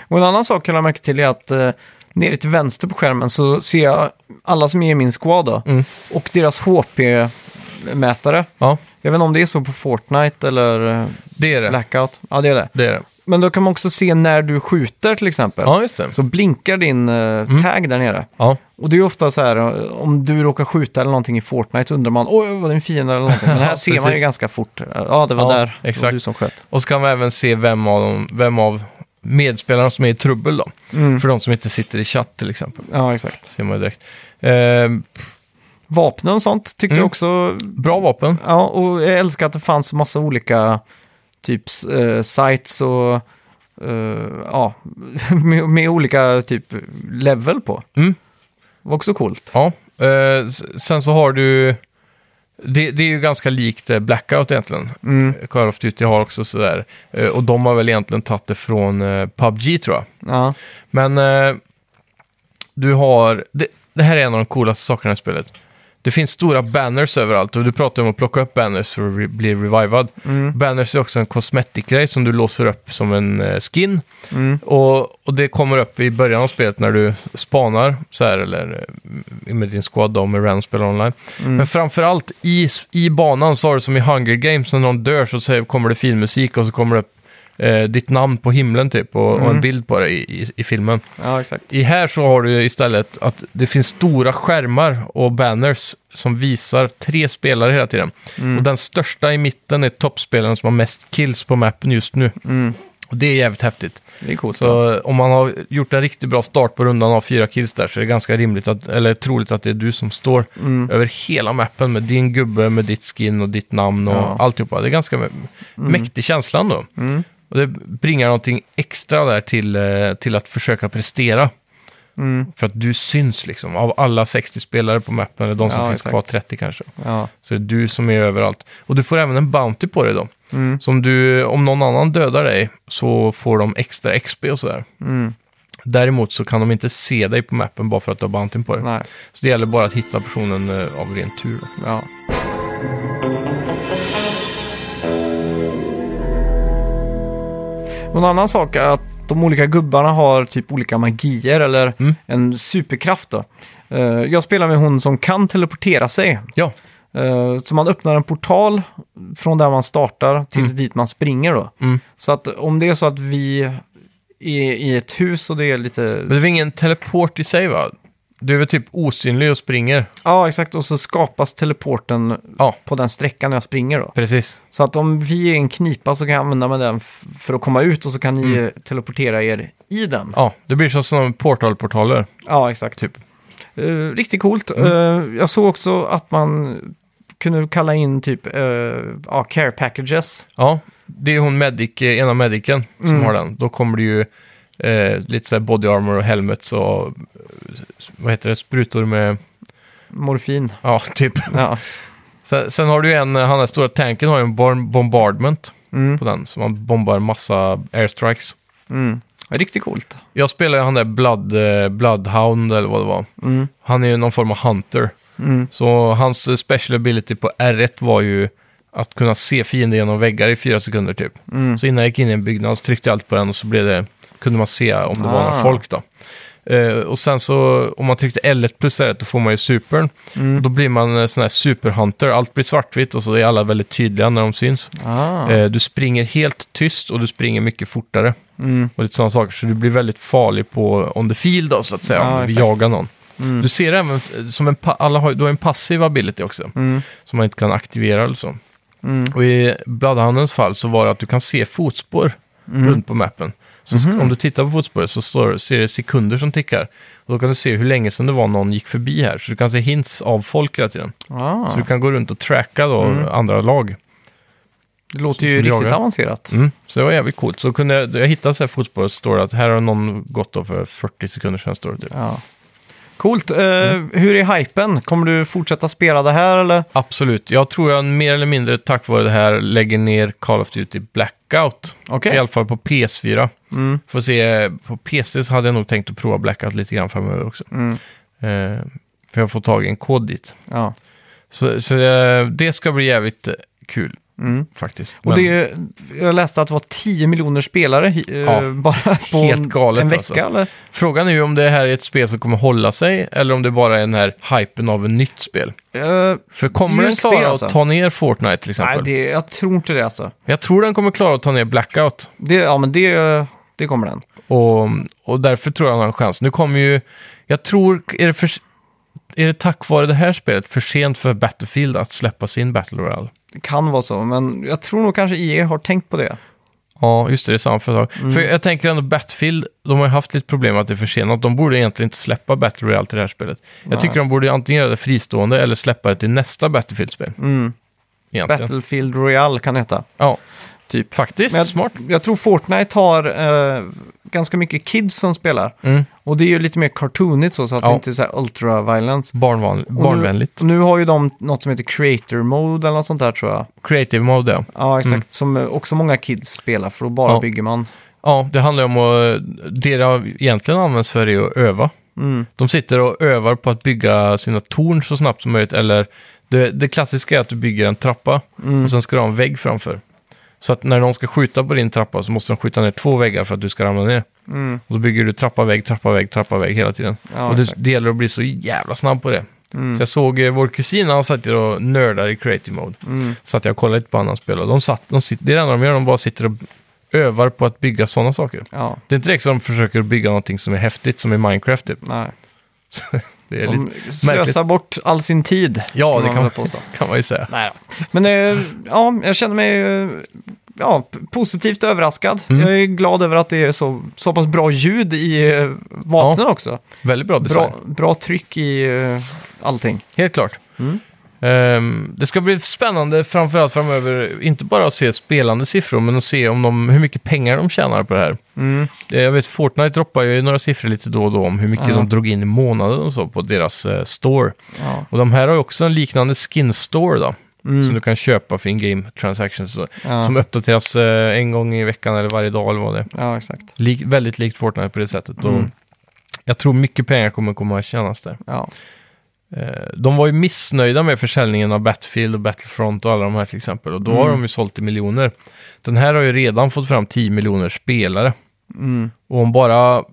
A: Och en annan sak jag lade märke till är att eh, nere till vänster på skärmen så ser jag alla som är i min squad då,
B: Mm.
A: och deras HP-mätare.
B: Ja,
A: Jag vet inte om det är så på Fortnite eller eh,
B: det är det.
A: Blackout. Ja, det är det.
B: Det är det.
A: Men då kan man också se när du skjuter till exempel.
B: Ja, Mm. just det.
A: Så blinkar din eh, tag där nere.
B: Ja,
A: Och det är ju ofta så här, eh, om du råkar skjuta eller någonting i Fortnite så undrar man, oj, var det en fiende eller någonting? Men här
B: Ja,
A: ser man ju
B: precis.
A: ganska fort, eh, ja det var
B: Ja,
A: där, det var
B: exakt.
A: du som sköt.
B: och så kan man även se vem av, dem, vem av medspelarna som är i trubbel då. För de som inte sitter i chatt till exempel.
A: Ja, exakt.
B: Ser man ju direkt. Eh,
A: Vapnen och sånt tyckte
B: Mm.
A: jag också,
B: bra vapen.
A: ja, och jag älskar att det fanns massa olika typs eh, sites och eh, ja, med, med olika typ level på.
B: Mm.
A: Det var också coolt.
B: Ja. Eh, s- sen så har du... Det, det är ju ganska likt eh, Blackout egentligen.
A: Mm.
B: Call of Duty har också sådär. Eh, och de har väl egentligen tagit det från eh, PubG tror jag.
A: Ja,
B: Men eh, du har... Det, det här är en av de coolaste sakerna i spelet. Det finns stora banners överallt och du pratar om att plocka upp banners för att re- bli revivad.
A: Mm.
B: Banners är också en kosmetikgrej som du låser upp som en eh, skin.
A: Mm.
B: Och, och det kommer upp i början av spelet när du spanar så här, eller eh, med din squad då, med random spelare online. Men framförallt i, i banan så har du som i Hunger Games, när någon dör så säger, kommer det fin musik och så kommer det upp eh, ditt namn på himlen typ och, och en bild på dig i, i, i filmen.
A: ja exakt.
B: I här så har du istället att det finns stora skärmar och banners som visar tre spelare hela tiden. Och den största i mitten är toppspelaren som har mest kills på mappen just nu. Och det är jävligt häftigt.
A: Det är coolt.
B: Så om man har gjort en riktigt bra start på rundan av fyra kills där så är det ganska rimligt att, eller troligt att det är du som står
A: Mm.
B: över hela mappen med din gubbe, med ditt skin och ditt namn och
A: Ja. Mm.
B: alltihopa. Det är ganska mä- mäktig känsla ändå. Och det bringar någonting extra där till, eh, till att försöka prestera.
A: Mm.
B: För att du syns liksom av alla 60 spelare på mappen, eller de som
A: Ja,
B: finns
A: exakt.
B: kvar 30 kanske.
A: Ja.
B: Så är det du som är överallt. Och du får även en bounty på dig då.
A: Mm.
B: Så om, du, om någon annan dödar dig så får de extra XP och sådär.
A: Mm.
B: Däremot så kan de inte se dig på mappen bara för att du har bounty på dig.
A: Nej,
B: Så det gäller bara att hitta personen eh, av ren tur. Då.
A: ja. Och En annan sak är att de olika gubbarna har typ olika magier eller
B: Mm.
A: en superkraft då. Eh, jag spelar med hon som kan teleportera sig.
B: Ja,
A: Eh, så man öppnar en portal från där man startar tills dit man springer då.
B: Mm.
A: Så att om det är så att vi är i ett hus och det är lite...
B: men det var ingen teleport i sig va? Du är väl typ osynlig och springer?
A: Ja, exakt. Och så skapas teleporten
B: Ja,
A: på den sträckan jag springer då.
B: precis.
A: Så att om vi är i en knipa så kan jag använda mig den f- för att komma ut och så kan ni eh, teleportera er i den.
B: Ja, det blir som sådana portalportaler.
A: Ja, exakt. Typ. riktigt coolt. Eh, jag såg också att man kunde kalla in typ eh, ja, care packages.
B: Ja, det är hon medic, eh, ena medicen som
A: Mm.
B: har den. Då kommer det ju eh, lite så här body armor och helmets och eh, vad heter det, sprutor med,
A: Morfin.
B: ja typ.
A: Ja.
B: Sen, sen har du ju en, eh, han den stora tanken har ju en bomb- bombardment
A: Mm.
B: på den. Så man bombar massa airstrikes.
A: Mm. Ja, Riktigt coolt.
B: Jag spelar ju han där Blood, eh, Bloodhound eller vad det var.
A: Mm.
B: Han är ju någon form av hunter.
A: Mm.
B: Så hans eh, special ability på R1 var ju att kunna se fienden genom väggar i fyra sekunder typ.
A: Mm.
B: Så innan jag gick in i en byggnad så tryckte jag allt på den och så blev det, kunde man se om det var några
A: Ah.
B: folk då. Eh, och sen så om man tryckte L1 plus R1 då får man ju supern.
A: Mm.
B: Då blir man eh, sån här superhunter. Allt blir svartvitt och så är alla väldigt tydliga när de syns.
A: Ah.
B: Eh, du springer helt tyst och du springer mycket fortare.
A: Mm.
B: Och lite sådana saker. Så du blir väldigt farlig på on the field då så att säga.
A: Ja,
B: om du vill
A: exakt.
B: jaga någon.
A: Mm.
B: Du ser även eh, som en, pa- alla har, ju- du har en passiv ability också
A: Mm.
B: som man inte kan aktivera eller så.
A: Mm.
B: Och i Bloodhoundens fall så var det att du kan se fotspår
A: Mm.
B: runt på mappen. Så sk-
A: Mhm.
B: om du tittar på fotspåret så står, ser det sekunder som tickar. Och då kan du se hur länge sedan det var någon gick förbi här. Så du kan se hints av folk hela tiden.
A: Ah.
B: Så du kan gå runt och tracka då
A: Mm.
B: andra lag.
A: Det låter ju
B: som
A: riktigt
B: jagar.
A: avancerat.
B: Mm. Så det var jävligt coolt. Så kunde jag, jag hittade så här fotspår och står det att här har någon gått då för 40 sekunder sedan. Står det typ.
A: Ja. Coolt. Eh, Hur är hypen? Kommer du fortsätta spela det här eller?
B: Absolut. Jag tror jag mer eller mindre tack vare det här lägger ner Call of Duty Blackout.
A: Okej.
B: I alla fall på PS4.
A: Mm.
B: Får se, på PC så hade jag nog tänkt att prova Blackout lite grann framöver också.
A: Mm.
B: Eh, för jag får tag i en kod dit.
A: Ja.
B: Så, så eh, det ska bli jävligt eh, kul
A: Mm.
B: faktiskt.
A: Och det är, jag läste att det var 10 miljoner spelare eh,
B: Ja.
A: bara på
B: Helt
A: en-
B: galet,
A: en vecka.
B: alltså.
A: Eller?
B: Frågan är ju om det här är ett spel som kommer hålla sig eller om det bara är den här hypen av ett nytt spel.
A: Eh,
B: För kommer den
A: Just det,
B: klara
A: alltså.
B: att ta ner Fortnite till exempel?
A: nej, det, jag tror inte det alltså.
B: Jag tror den kommer klara att ta ner Blackout.
A: Det, ja, men det, eh, det kommer den.
B: Och, och därför tror jag han har en chans. Nu kommer ju, jag tror, är det, för, är det tack vare det här spelet för sent för Battlefield att släppa sin Battle Royale?
A: Det kan vara så, men jag tror nog kanske EA har tänkt på det.
B: Ja, just det, det är samma företag.
A: Mm.
B: För jag tänker ändå Battlefield, de har ju haft lite problem att det är försenat. De borde egentligen inte släppa Battle Royale till det här spelet. Jag tycker de borde antingen göra det fristående eller släppa det till nästa Battlefield-spel.
A: Mm.
B: Egentligen.
A: Battlefield Royale kan det heta.
B: Ja,
A: Typ.
B: faktiskt.
A: Men jag,
B: Smart.
A: jag tror Fortnite har eh, ganska mycket kids som spelar.
B: Mm.
A: Och det är ju lite mer cartoonigt så, så att
B: Ja.
A: det inte är så här ultra-violence.
B: Barnvan-
A: Och Nu,
B: barnvänligt.
A: och nu har ju de något som heter creator mode eller något sånt där tror jag.
B: Creative mode, ja.
A: Ja, exakt. Som eh, också många kids spelar, för då bara
B: Mm. Ja.
A: bygger man.
B: Ja, det handlar ju om att... eh, Det det egentligen används för är att öva.
A: Mm.
B: De sitter och övar på att bygga sina torn så snabbt som möjligt. Eller det, det klassiska är att du bygger en trappa
A: Mm.
B: och sen ska du ha en vägg framför. Så att när någon ska skjuta på din trappa så måste de skjuta ner två väggar för att du ska ramla ner.
A: Mm.
B: Och så bygger du trappa, vägg, trappa, vägg, trappa, vägg hela tiden.
A: Ja,
B: och det,
A: exakt.
B: det gäller att bli så jävla snabb på det.
A: Mm.
B: Så jag såg eh, vår kusin, han satt ju och nördade i creative mode.
A: Mm.
B: Så att jag kollade lite på andra spel och de satt, de sitter, det är det enda de gör, de bara sitter och övar på att bygga sådana saker.
A: Ja,
B: Det är inte direkt som de försöker bygga någonting som är häftigt, som i Minecraft typ.
A: nej.
B: Det är lite...
A: De slösar bort all sin tid.
B: Ja, det kan
A: väl
B: man,
A: påstå.
B: kan man ju säga.
A: Nej då. Men eh, ja, jag känner mig eh, ja, p- positivt överraskad.
B: Mm.
A: Jag är glad över att det är så, så pass bra ljud i eh, vapnen också.
B: Väldigt bra design.
A: Bra, bra tryck i eh, allting.
B: Helt klart.
A: Mm.
B: Ehm, det ska bli spännande framförallt framöver, inte bara att se spelande siffror, men att se om de, hur mycket pengar de tjänar på det här.
A: Mm.
B: Eh, Jag vet, Fortnite droppar ju några siffror lite då och då om hur mycket
A: Ja.
B: de drog in i månaden och så på deras eh, store.
A: Ja.
B: Och de här har ju också en liknande skin store då, som
A: Mm.
B: du kan köpa för in-game transactions. och så,
A: Ja.
B: Som uppdateras eh, en gång i veckan eller varje dag eller vad det är.
A: ja, exakt.
B: Lik, väldigt likt Fortnite på det sättet. Och
A: Mm.
B: jag tror mycket pengar kommer komma att tjänas där.
A: Ja.
B: Eh, De var ju missnöjda med försäljningen av Battlefield och Battlefront och alla de här till exempel. Och då har
A: Mm.
B: de ju sålt i miljoner. Den här har ju redan fått fram 10 miljoner spelare.
A: Mm.
B: Och om bara...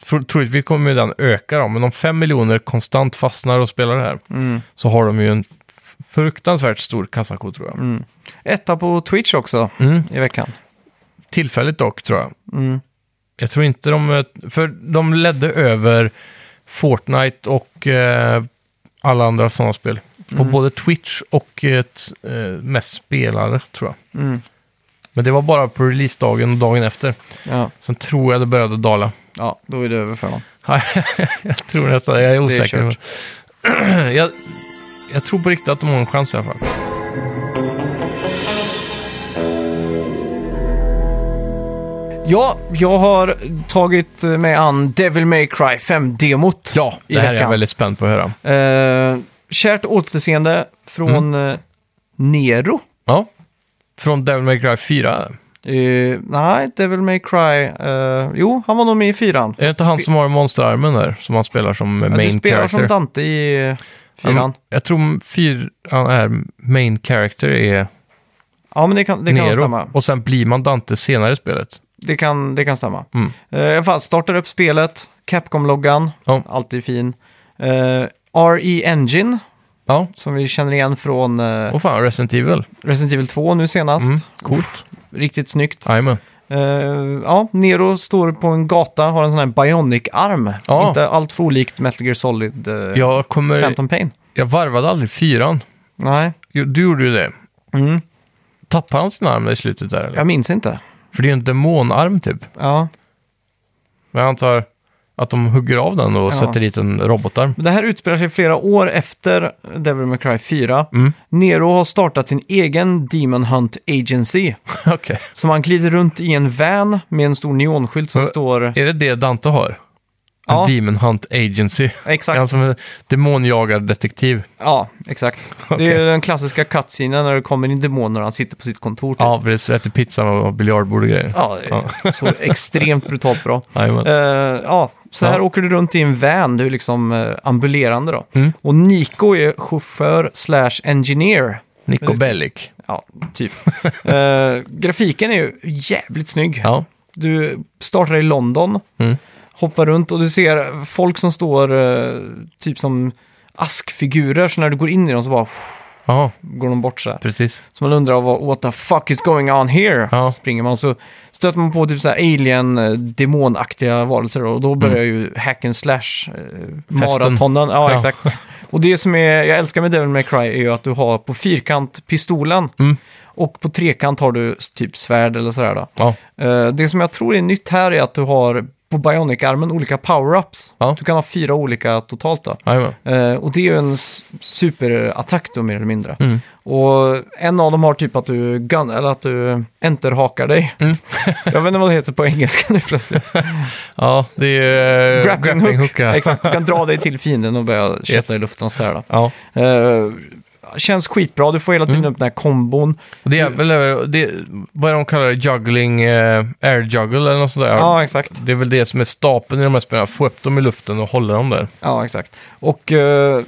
B: tro- Troligtvis kommer ju den öka då, men om 5 miljoner konstant fastnar och spelar det här
A: Mm.
B: så har de ju en f- fruktansvärt stor kassako tror jag.
A: Mm. Etta på Twitch också
B: Mm.
A: i veckan.
B: Tillfälligt dock tror jag.
A: Mm.
B: Jag tror inte de... För de ledde över Fortnite och eh, alla andra sådana spel. På både Twitch och eh, t- eh, mest spelare, tror jag.
A: Mm.
B: Men det var bara på releasedagen och dagen efter.
A: Ja,
B: Sen tror jag det började dala.
A: ja, då är det över för honom.
B: jag tror nästan, jag är
A: Det är
B: osäker.
A: kört.
B: men- jag, jag tror på riktigt att de har en chans i alla fall.
A: Ja, jag har tagit mig an Devil May Cry 5-demot.
B: Ja,
A: i
B: det här är jag
A: veckan.
B: väldigt spänd på att höra.
A: Eh, kärt återseende
B: Mm.
A: från eh, Nero.
B: Ja. Från Devil May Cry 4.
A: Eh, nej, Devil May Cry. eh, jo, han var nog med i fyran.
B: Är det inte han som har monsterarmen där? Som han spelar som eh,
A: Ja,
B: main
A: du spelar
B: character?
A: som Dante i eh, fyran.
B: Ja, men Jag tror fyran är main character är
A: ja, men det kan, det kan nog stämma.
B: Nero. Och sen blir man Dante senare i spelet.
A: Det kan, det kan stämma.
B: Mm.
A: Eh, I alla fall, startar upp spelet. Capcom-loggan,
B: Ja.
A: alltid fin. Eh, RE Engine,
B: Ja.
A: som vi känner igen från eh,
B: Och fan, Resident Evil.
A: Resident Evil 2 nu senast.
B: Mm. Coolt.
A: Riktigt snyggt.
B: Jajamän.
A: Eh, ja, Nero står på en gata, har en sån här Bionic-arm.
B: Ja.
A: Inte allt för olikt Metal Gear Solid eh,
B: Jag kommer...
A: Phantom Pain.
B: Jag varvade aldrig fyran.
A: Nej,
B: Jo, Du gjorde ju det.
A: Mm.
B: Tappar han sin arm där i slutet där eller?
A: jag minns inte.
B: För det är ju en demonarm typ.
A: Ja.
B: Men jag antar att de hugger av den och sätter dit en robotarm.
A: Men Det här utspelar sig flera år efter Devil May Cry 4.
B: Mm.
A: Nero har startat sin egen Demon Hunt Agency.
B: Okej.
A: Så man glider runt i en van med en stor neonskylt som
B: Men-
A: står...
B: Är det det Dante har? En
A: Ja.
B: Demon Hunt Agency. Är han
A: Exakt.
B: som en demonjagardetektiv?
A: Ja, exakt. Det är
B: Okej.
A: den klassiska cutscenen när det kommer in demoner och han sitter på sitt kontor. Typ.
B: Ja, precis. Äter pizzan och biljardbord och grejer.
A: Ja, det är så extremt brutalt bra.
B: Jajamän.
A: Eh, ja, så här
B: Ja.
A: åker du runt i en van, du är liksom eh, ambulerande då.
B: Mm.
A: Och Nico är chaufför slash engineer.
B: Nico Bellic.
A: Ja, typ. Eh, grafiken är ju jävligt snygg.
B: Ja.
A: Du startar i London,
B: Mm.
A: hoppar runt och du ser folk som står eh, typ som askfigurer, så när du går in i dem så bara pff,
B: ja,
A: går de bort så här.
B: precis.
A: Så man undrar vad what the fuck is going on here?
B: Ja.
A: Så springer man och så stöter man på typ så här alien eh, demonaktiga varelser och
B: Mm.
A: då börjar ju hack and slash eh, maratonen. Ja,
B: Ja.
A: exakt. Och det som är, jag älskar med Devil May Cry är ju att du har på fyrkant pistolen
B: Mm.
A: och på trekant har du s- typ svärd eller sådär då.
B: Ja,
A: Eh, det som jag tror är nytt här är att du har på Bionic-armen olika power-ups.
B: Ja.
A: Du kan ha fyra olika totalt då.
B: jajamän.
A: Eh, och det är ju en s- superattack då mer eller mindre.
B: Mm.
A: Och en av dem har typ att du, gun, eller att du enterhakar dig.
B: Mm.
A: jag vet inte vad det heter på engelska nu plötsligt.
B: Ja, det är ju... eh, ja.
A: Exakt, du kan dra dig till fienden och börja kötta i luften och sådär. Då.
B: Ja.
A: Eh, känns skitbra, du får hela
B: Mm.
A: tiden upp den här kombon.
B: Det är väl, eh, det, vad är det de kallar det, juggling, eh, air juggle eller något sånt där.
A: Ja, exakt.
B: Det är väl det som är stapeln i de här spelen, få upp dem i luften och hålla dem där.
A: Ja, exakt. Och eh,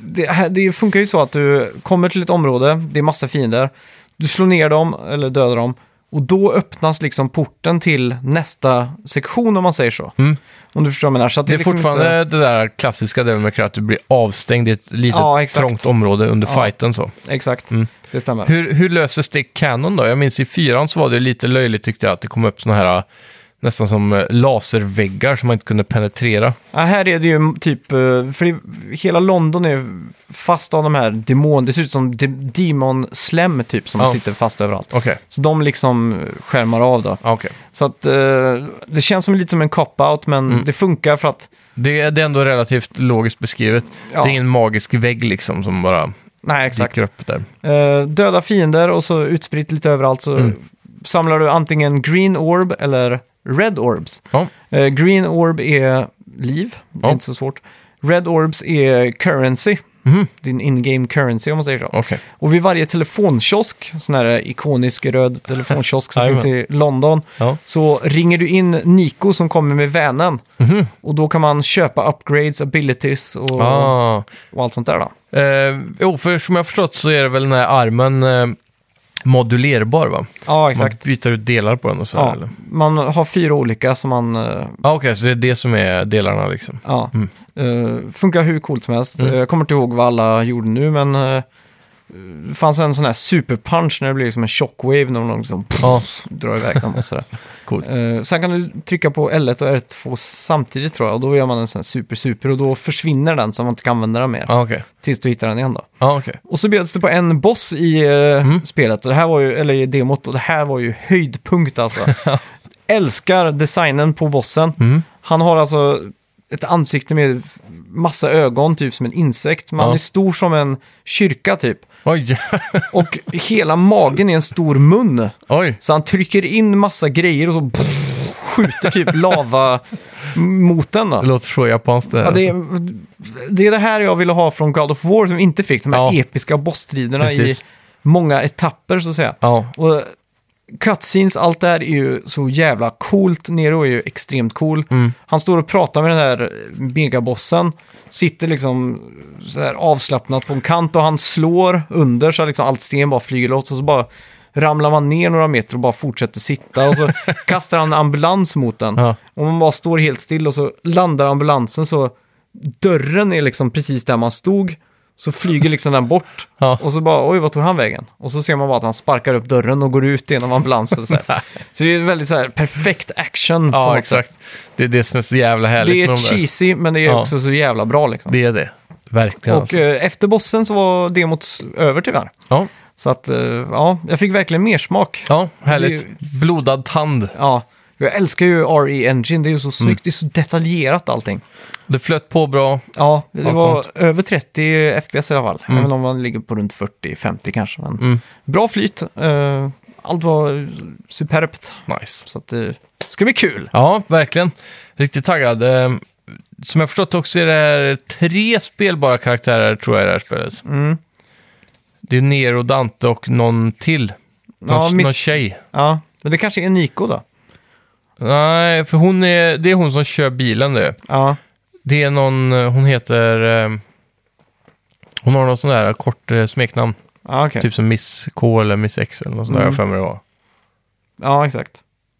A: det, här, det funkar ju så att du kommer till ett område, det är massa fiender, du slår ner dem eller dödar dem och då öppnas liksom porten till nästa sektion om man säger så.
B: Mm.
A: Om du förstår vad jag menar. Så att
B: Det är
A: liksom
B: fortfarande
A: Inte,
B: det där klassiska Devil May Cry, att du blir avstängd i ett litet
A: Ja, exakt.
B: trångt område under
A: Ja.
B: fighten. Så.
A: exakt,
B: Mm.
A: det stämmer.
B: Hur, hur löses det kanon då? Jag minns i fyran så var det lite löjligt tyckte jag att det kom upp såna här äh, nästan som eh, laserväggar som man inte kunde penetrera.
A: Ja, här är det ju typ, eh, för det, hela London är fast av de här demon, det ser ut som de, demon slem typ som
B: Ja.
A: sitter fast överallt.
B: Okej.
A: Så de liksom skärmar av då.
B: Ja, okej.
A: Så att eh, det känns som lite som en cop-out men
B: Mm.
A: det funkar för att
B: Det, är- det är ändå relativt logiskt beskrivet.
A: Ja.
B: Det är ingen magisk vägg liksom som bara
A: Nej, exakt.
B: dyker upp där.
A: Eh, döda fiender och så utspritt lite överallt så
B: Mm.
A: samlar du antingen green orb eller red orbs.
B: Ja,
A: Eh, green orb är liv, det är
B: Ja.
A: inte så svårt. Red orbs är currency,
B: Mhm.
A: din in-game currency om man säger så.
B: okej.
A: Och vid varje telefonkiosk, sån här ikonisk röd telefonkiosk som
B: Jajamän.
A: finns i London,
B: Ja.
A: så ringer du in Nico som kommer med vänen.
B: Mhm.
A: Och då kan man köpa upgrades, abilities och,
B: Ah.
A: och allt sånt där då.
B: Eh, jo, för som jag har förstått så är det väl den här armen eh, modulerbar va?
A: Ja, exakt.
B: Man byter ut delar på den och så här,
A: Ja,
B: eller?
A: man har fyra olika som man... eh,
B: Ja, okej, så det är det som är delarna liksom. Mm.
A: ja, eh, funkar hur coolt som helst. Eh, Jag kommer inte ihåg vad alla gjorde nu, men eh, det fanns en sån här superpunch när det blir som en shockwave när någon liksom
B: Ja,
A: drar iväg dem och sådär.
B: Coolt.
A: Eh, sen kan du trycka på L1 och R2 samtidigt tror jag och då gör man en sån här super-super och då försvinner den så man inte kan använda den mer.
B: ja Ah, okej.
A: Tills du hittar den igen då.
B: Ja, okej.
A: Och så bjöds det på en boss i eh, spelet, och det här var ju, eller i demot, och det här var ju höjdpunkt alltså. Älskar designen på bossen. Han har alltså ett ansikte med massa ögon, typ som en insekt, men han
B: Ja.
A: är stor som en kyrka typ.
B: Oj,
A: Och hela magen är en stor mun.
B: oj.
A: Så han trycker in massa grejer och så skjuter typ lava mot den. Då.
B: Det låter så japanskt det här.
A: Ja, det, är, det är det här jag ville ha från God of War som inte fick de här
B: Ja.
A: episka bossstriderna i
B: Precis.
A: många etapper så att säga.
B: Ja,
A: Och cutscenes, allt det här är ju så jävla coolt. Nero är ju extremt cool.
B: Mm.
A: Han står och pratar med den här megabossen, sitter liksom så här avslappnat på en kant och han slår under så att liksom allt sten bara flyger loss och så bara ramlar man ner några meter och bara fortsätter sitta och så kastar han en ambulans mot den.
B: Ja.
A: Och man bara står helt still och så landar ambulansen så dörren är liksom precis där man stod. Så flyger liksom den bort
B: Ja.
A: och så bara oj vad tog han vägen? Och så ser man bara att han sparkar upp dörren och går ut genom ambulansen. Så, här. så det är väldigt så här perfekt action. på något
B: ja
A: sätt.
B: exakt. Det är det som är så jävla härligt
A: Det
B: med
A: är
B: de där.
A: cheesy men det är
B: Ja.
A: också så jävla bra liksom.
B: Det är det. Verkligen.
A: och
B: alltså.
A: eh, efter bossen så var demot s- över tyvärr.
B: ja.
A: Så att eh, ja, jag fick verkligen mer smak.
B: ja, härligt.
A: det är
B: Blodad tand.
A: Ja, jag älskar ju RE Engine, det är ju så
B: Mm.
A: snyggt, det är så detaljerat allting.
B: Det flöt på bra.
A: Ja, det
B: Allt
A: var
B: sånt. Mm.
A: över 30 FPS i alla fall, även om man ligger på runt 40-50 kanske. Men Bra flyt, eh, allt var superbt.
B: Nice.
A: Så att eh, det ska bli kul.
B: Ja, verkligen. Riktigt taggad. Ehm, Som jag förstått också är det här tre spelbara karaktärer tror jag i det här spelet.
A: Mm.
B: Det är Nero, Dante och någon till. Någon,
A: Ja, miss-
B: någon tjej.
A: Ja, men det kanske är Nico då?
B: Nej, för hon är, det är hon som kör bilen det.
A: Ja,
B: Det är någon, eh, hon heter... ehm, Hon har något sånt där kort eh, smeknamn.
A: ja Mm. okej.
B: Typ som Miss K eller Miss X eller något sånt där, jag har för mig det var.
A: Ja, exakt.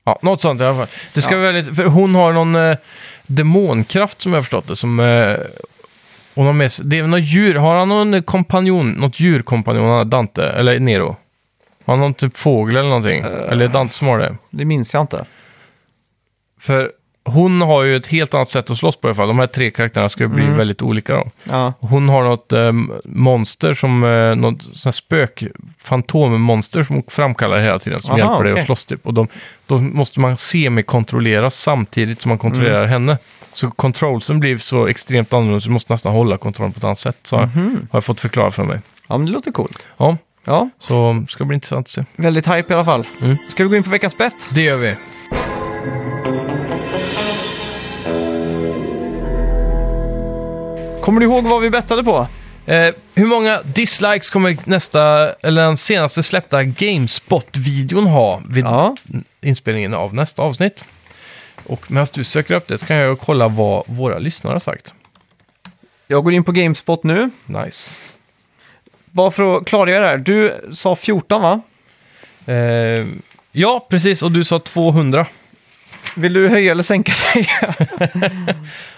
B: Ja, något sånt i alla fall. Det ska
A: Ja.
B: vara väldigt, för hon har någon eh, demonkraft som jag har förstått det. Som, eh, hon har med sig, det är något djur. Har han någon kompanjon, något djurkompanjon, han har Dante, eller Nero? Har han någon typ fågel eller någonting?
A: Eh.
B: Eller är det Dante som har det?
A: Det minns jag inte.
B: För hon har ju ett helt annat sätt att slåss på i alla fall. De här tre karaktärerna ska ju bli
A: Mm.
B: väldigt olika då.
A: Ja,
B: Hon har något eh, monster som, eh, något sånt här spök, fantommonster som hon framkallar hela tiden som
A: Aha,
B: hjälper dig
A: okej.
B: att slåss typ. Och de, då måste man semikontrollera samtidigt som man kontrollerar henne. Så controlsen blir så extremt annorlunda så du måste nästan hålla kontrollen på ett annat sätt. Så har jag fått förklara för mig.
A: ja men det låter coolt.
B: Ja,
A: Ja,
B: så ska bli intressant att se.
A: väldigt hype i alla fall.
B: Mm.
A: Ska vi gå in på veckans bett?
B: Det gör vi.
A: Kommer du ihåg vad vi bettade på?
B: Eh, hur många dislikes kommer nästa, eller den senaste släppta GameSpot-videon ha vid
A: Ja.
B: inspelningen av nästa avsnitt. Och medan du söker upp det så kan jag kolla vad våra lyssnare har sagt.
A: Jag går in på GameSpot nu.
B: Nice.
A: Bara för att klargöra det här. Du sa 14 va?
B: Eh, ja, precis. Och du sa 200.
A: Vill du höja eller sänka dig?
B: Eh,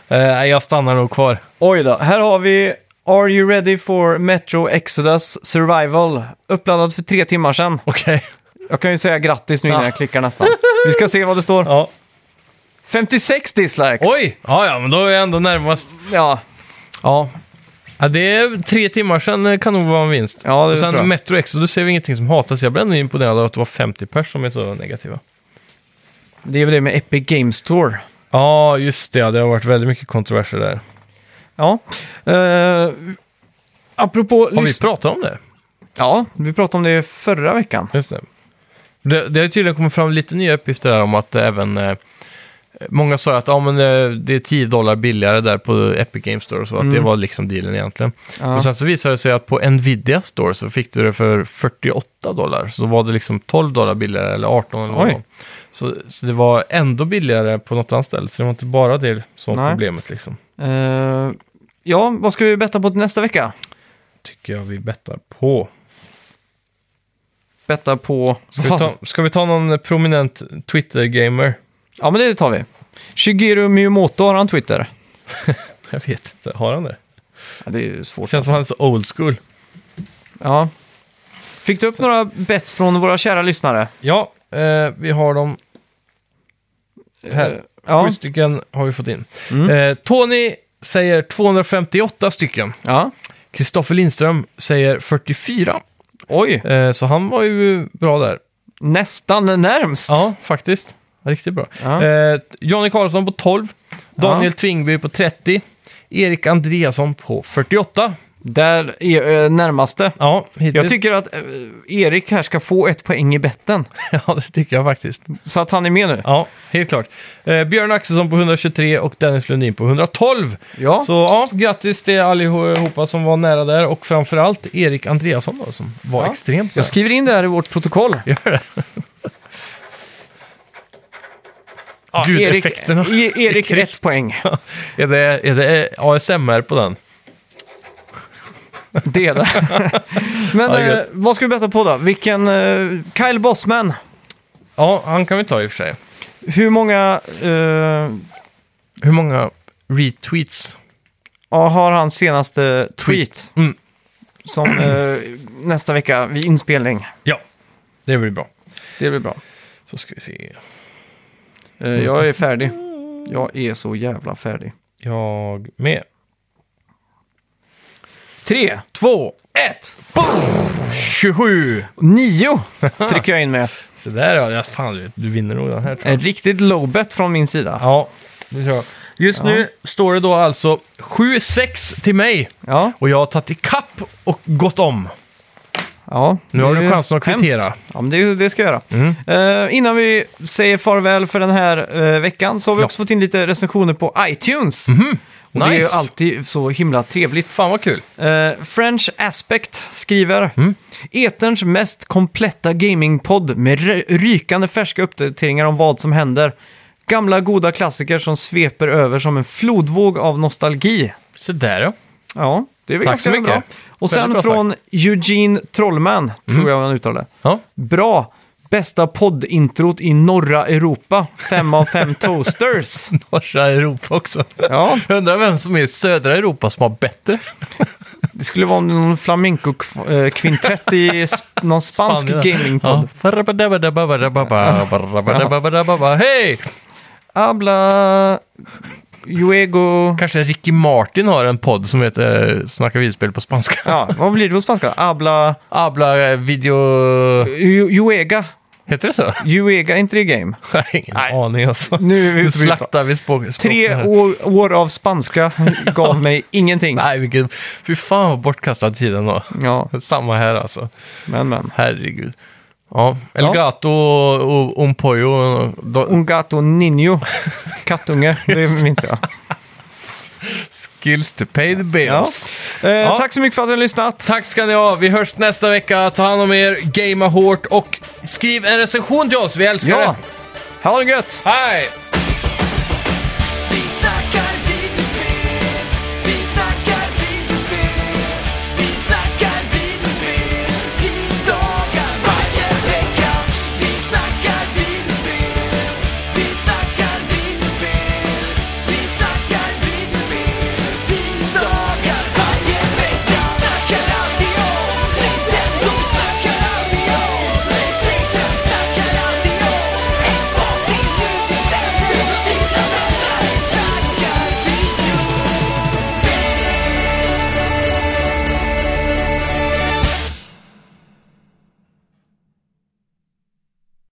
B: nej, jag stannar nog kvar.
A: Oj då, här har vi Are You Ready for Metro Exodus Survival? Uppladdad för tre timmar sedan.
B: Okej.
A: Jag kan ju säga grattis nu innan
B: Ja.
A: jag klickar nästan. Vi ska se vad det står.
B: Ja.
A: 56 dislikes!
B: Oj! Ja, ja, men då är jag ändå närmast.
A: Ja,
B: Ja. ja det är tre timmar sedan eh, kan nog vara en vinst.
A: Ja, det
B: Och sen
A: tror jag.
B: Metro Exodus ser vi ingenting som hatas. Jag blev ändå imponerad av att det var 50 pers som är så negativa.
A: det är väl det med Epic Games Store.
B: Ja, just det. ja, Det har varit väldigt mycket kontroverser där.
A: Ja. Uh, apropå...
B: Har vi
A: lys-
B: pratat om det?
A: ja, vi pratade om det förra veckan.
B: Just det. Det, det har ju tydligen kommit fram lite nya uppgifter där om att även... Eh, många sa att ah, men, eh, det är 10 dollar billigare där på Epic Games Store och så, att det var liksom dealen egentligen.
A: Mm. Ja.
B: Men sen så visade det sig att på Nvidia Store så fick du det för 48 dollar, så var det liksom 12 dollar billigare eller 18 eller vad
A: Oj.
B: det var. så, så det var ändå billigare på något annat ställe, så det var inte bara det som var
A: Nej.
B: problemet liksom.
A: Eh, ja, vad ska vi betta på till nästa vecka?
B: Tycker jag vi bettar på.
A: Betta på...
B: Ska vi ta, ska vi ta någon prominent Twitter-gamer?
A: Ja, men det tar vi. Shigeru Miyamoto, har han Twitter?
B: Jag vet inte, har han det?
A: Ja, det är ju svårt.
B: Känns som han är så old school.
A: Ja, Fick du upp några bett från våra kära lyssnare?
B: Ja, eh, vi har dem här.
A: Eh, Ja. Mm.
B: Sju stycken har vi fått in. Eh, Tony säger 258 stycken.
A: ja.
B: Kristoffer Lindström säger 44.
A: Oj,
B: Eh, så han var ju bra där.
A: nästan närmst.
B: Ja, faktiskt. Riktigt bra.
A: Ja.
B: Eh, Johnny Karlsson på 12. Daniel
A: Ja.
B: Tvingby på 30. Erik Andreasson på 48.
A: Där är eh, närmaste.
B: Ja, hittills.
A: Jag tycker att eh, Erik här ska få ett poäng i betten.
B: ja, det tycker jag faktiskt.
A: Så att han är med nu.
B: Ja, helt klart. Eh, Björn Axelsson på 123 och Dennis Lundin på 112.
A: Ja.
B: Så ja, grattis till allihopa som var nära där och framförallt Erik Andreasson då, som var
A: Ja.
B: extremt
A: Jag
B: nära.
A: skriver in det här i vårt protokoll.
B: Gör det.
A: Ja, Erik,
B: Ljudeffekterna.
A: E- Erik ett poäng.
B: Är det, är det ASMR på den?
A: Det är det. Men
B: Ja,
A: eh,
B: gött.
A: vad ska vi betta på då? Vilken... Eh, Kyle Bossman.
B: Ja, han kan vi ta i och för sig.
A: Hur många eh,
B: Hur många retweets?
A: ja, har hans senaste tweet?
B: Mm.
A: Som eh, nästa vecka vid inspelning.
B: Ja, det blir bra.
A: Det blir bra.
B: Så ska vi se.
A: Eh, jag är färdig. Jag är så jävla färdig.
B: Jag med.
A: Tre.
B: Två, ett, boom! 27!
A: Nio trycker jag in med.
B: Så där ja, ja, fan du, du vinner nog den här tror jag.
A: En riktigt low bet från min sida.
B: Ja, det tror jag. Just nu står det då alltså 7-6 till mig.
A: Ja,
B: Och jag har tagit ikapp och gått om.
A: ja.
B: Nu har
A: Det är
B: du
A: ju
B: chansen att
A: hemskt.
B: kvittera. Mm.
A: Ja, men det, det ska jag göra. Eh, innan vi säger farväl för den här eh, veckan så har vi
B: Ja. Mhm.
A: också fått in lite recensioner på iTunes. Och Det är ju
B: Nice.
A: alltid så himla trevligt.
B: Fan vad kul.
A: Eh, French Aspect skriver
B: Mm.
A: Eterns mest kompletta gamingpodd med ry- rykande färska uppdateringar om vad som händer. Gamla goda klassiker som sveper över som en flodvåg av nostalgi.
B: Så där ja.
A: Ja, det är väl
B: Tack
A: ganska
B: så mycket.
A: bra. Och sen
B: Väldigt bra Mm.
A: från Eugene Trollman, tror jag han uttalade.
B: ja.
A: Bra! Bästa poddintrot i norra Europa. Fem av fem toasters.
B: Norra Europa också.
A: Ja.
B: Jag undrar vem som är i södra Europa som har bättre.
A: Det skulle vara någon flamenco-kvintett i s- någon spansk gamingpodd.
B: Ja. Hej!
A: Abla... Juego...
B: Kanske Ricky Martin har en podd som heter Snacka videospel på spanska.
A: Ja, vad blir det på spanska? Abla...
B: Abla eh, video...
A: Ju- Juega.
B: Heter det så?
A: Juega, inte det game?
B: Jag har ingen aning alltså.
A: Nu är vi
B: Nu
A: ute på djupt.
B: slaktar vi språk, språk
A: Tre år, år av spanska gav mig ingenting.
B: Nej, vilken... Fy fan vad bortkastad tiden då.
A: Ja,
B: Samma här alltså.
A: men men.
B: Herregud. Ja, El
A: Ja.
B: Gato och, och Ompoyo. och- då-
A: Un gato niño. Kattunge, det minns jag.
B: Skills to pay the
A: Ja.
B: bills.
A: Eh,
B: Ja.
A: Tack så mycket för att ni har lyssnat.
B: Tack ska ni ha. Vi hörs nästa vecka. Ta hand om er, gamea hårt och skriv en recension till oss. Vi älskar
A: Ja.
B: det.
A: Ha det gött!
B: Hej!
C: Vi snackar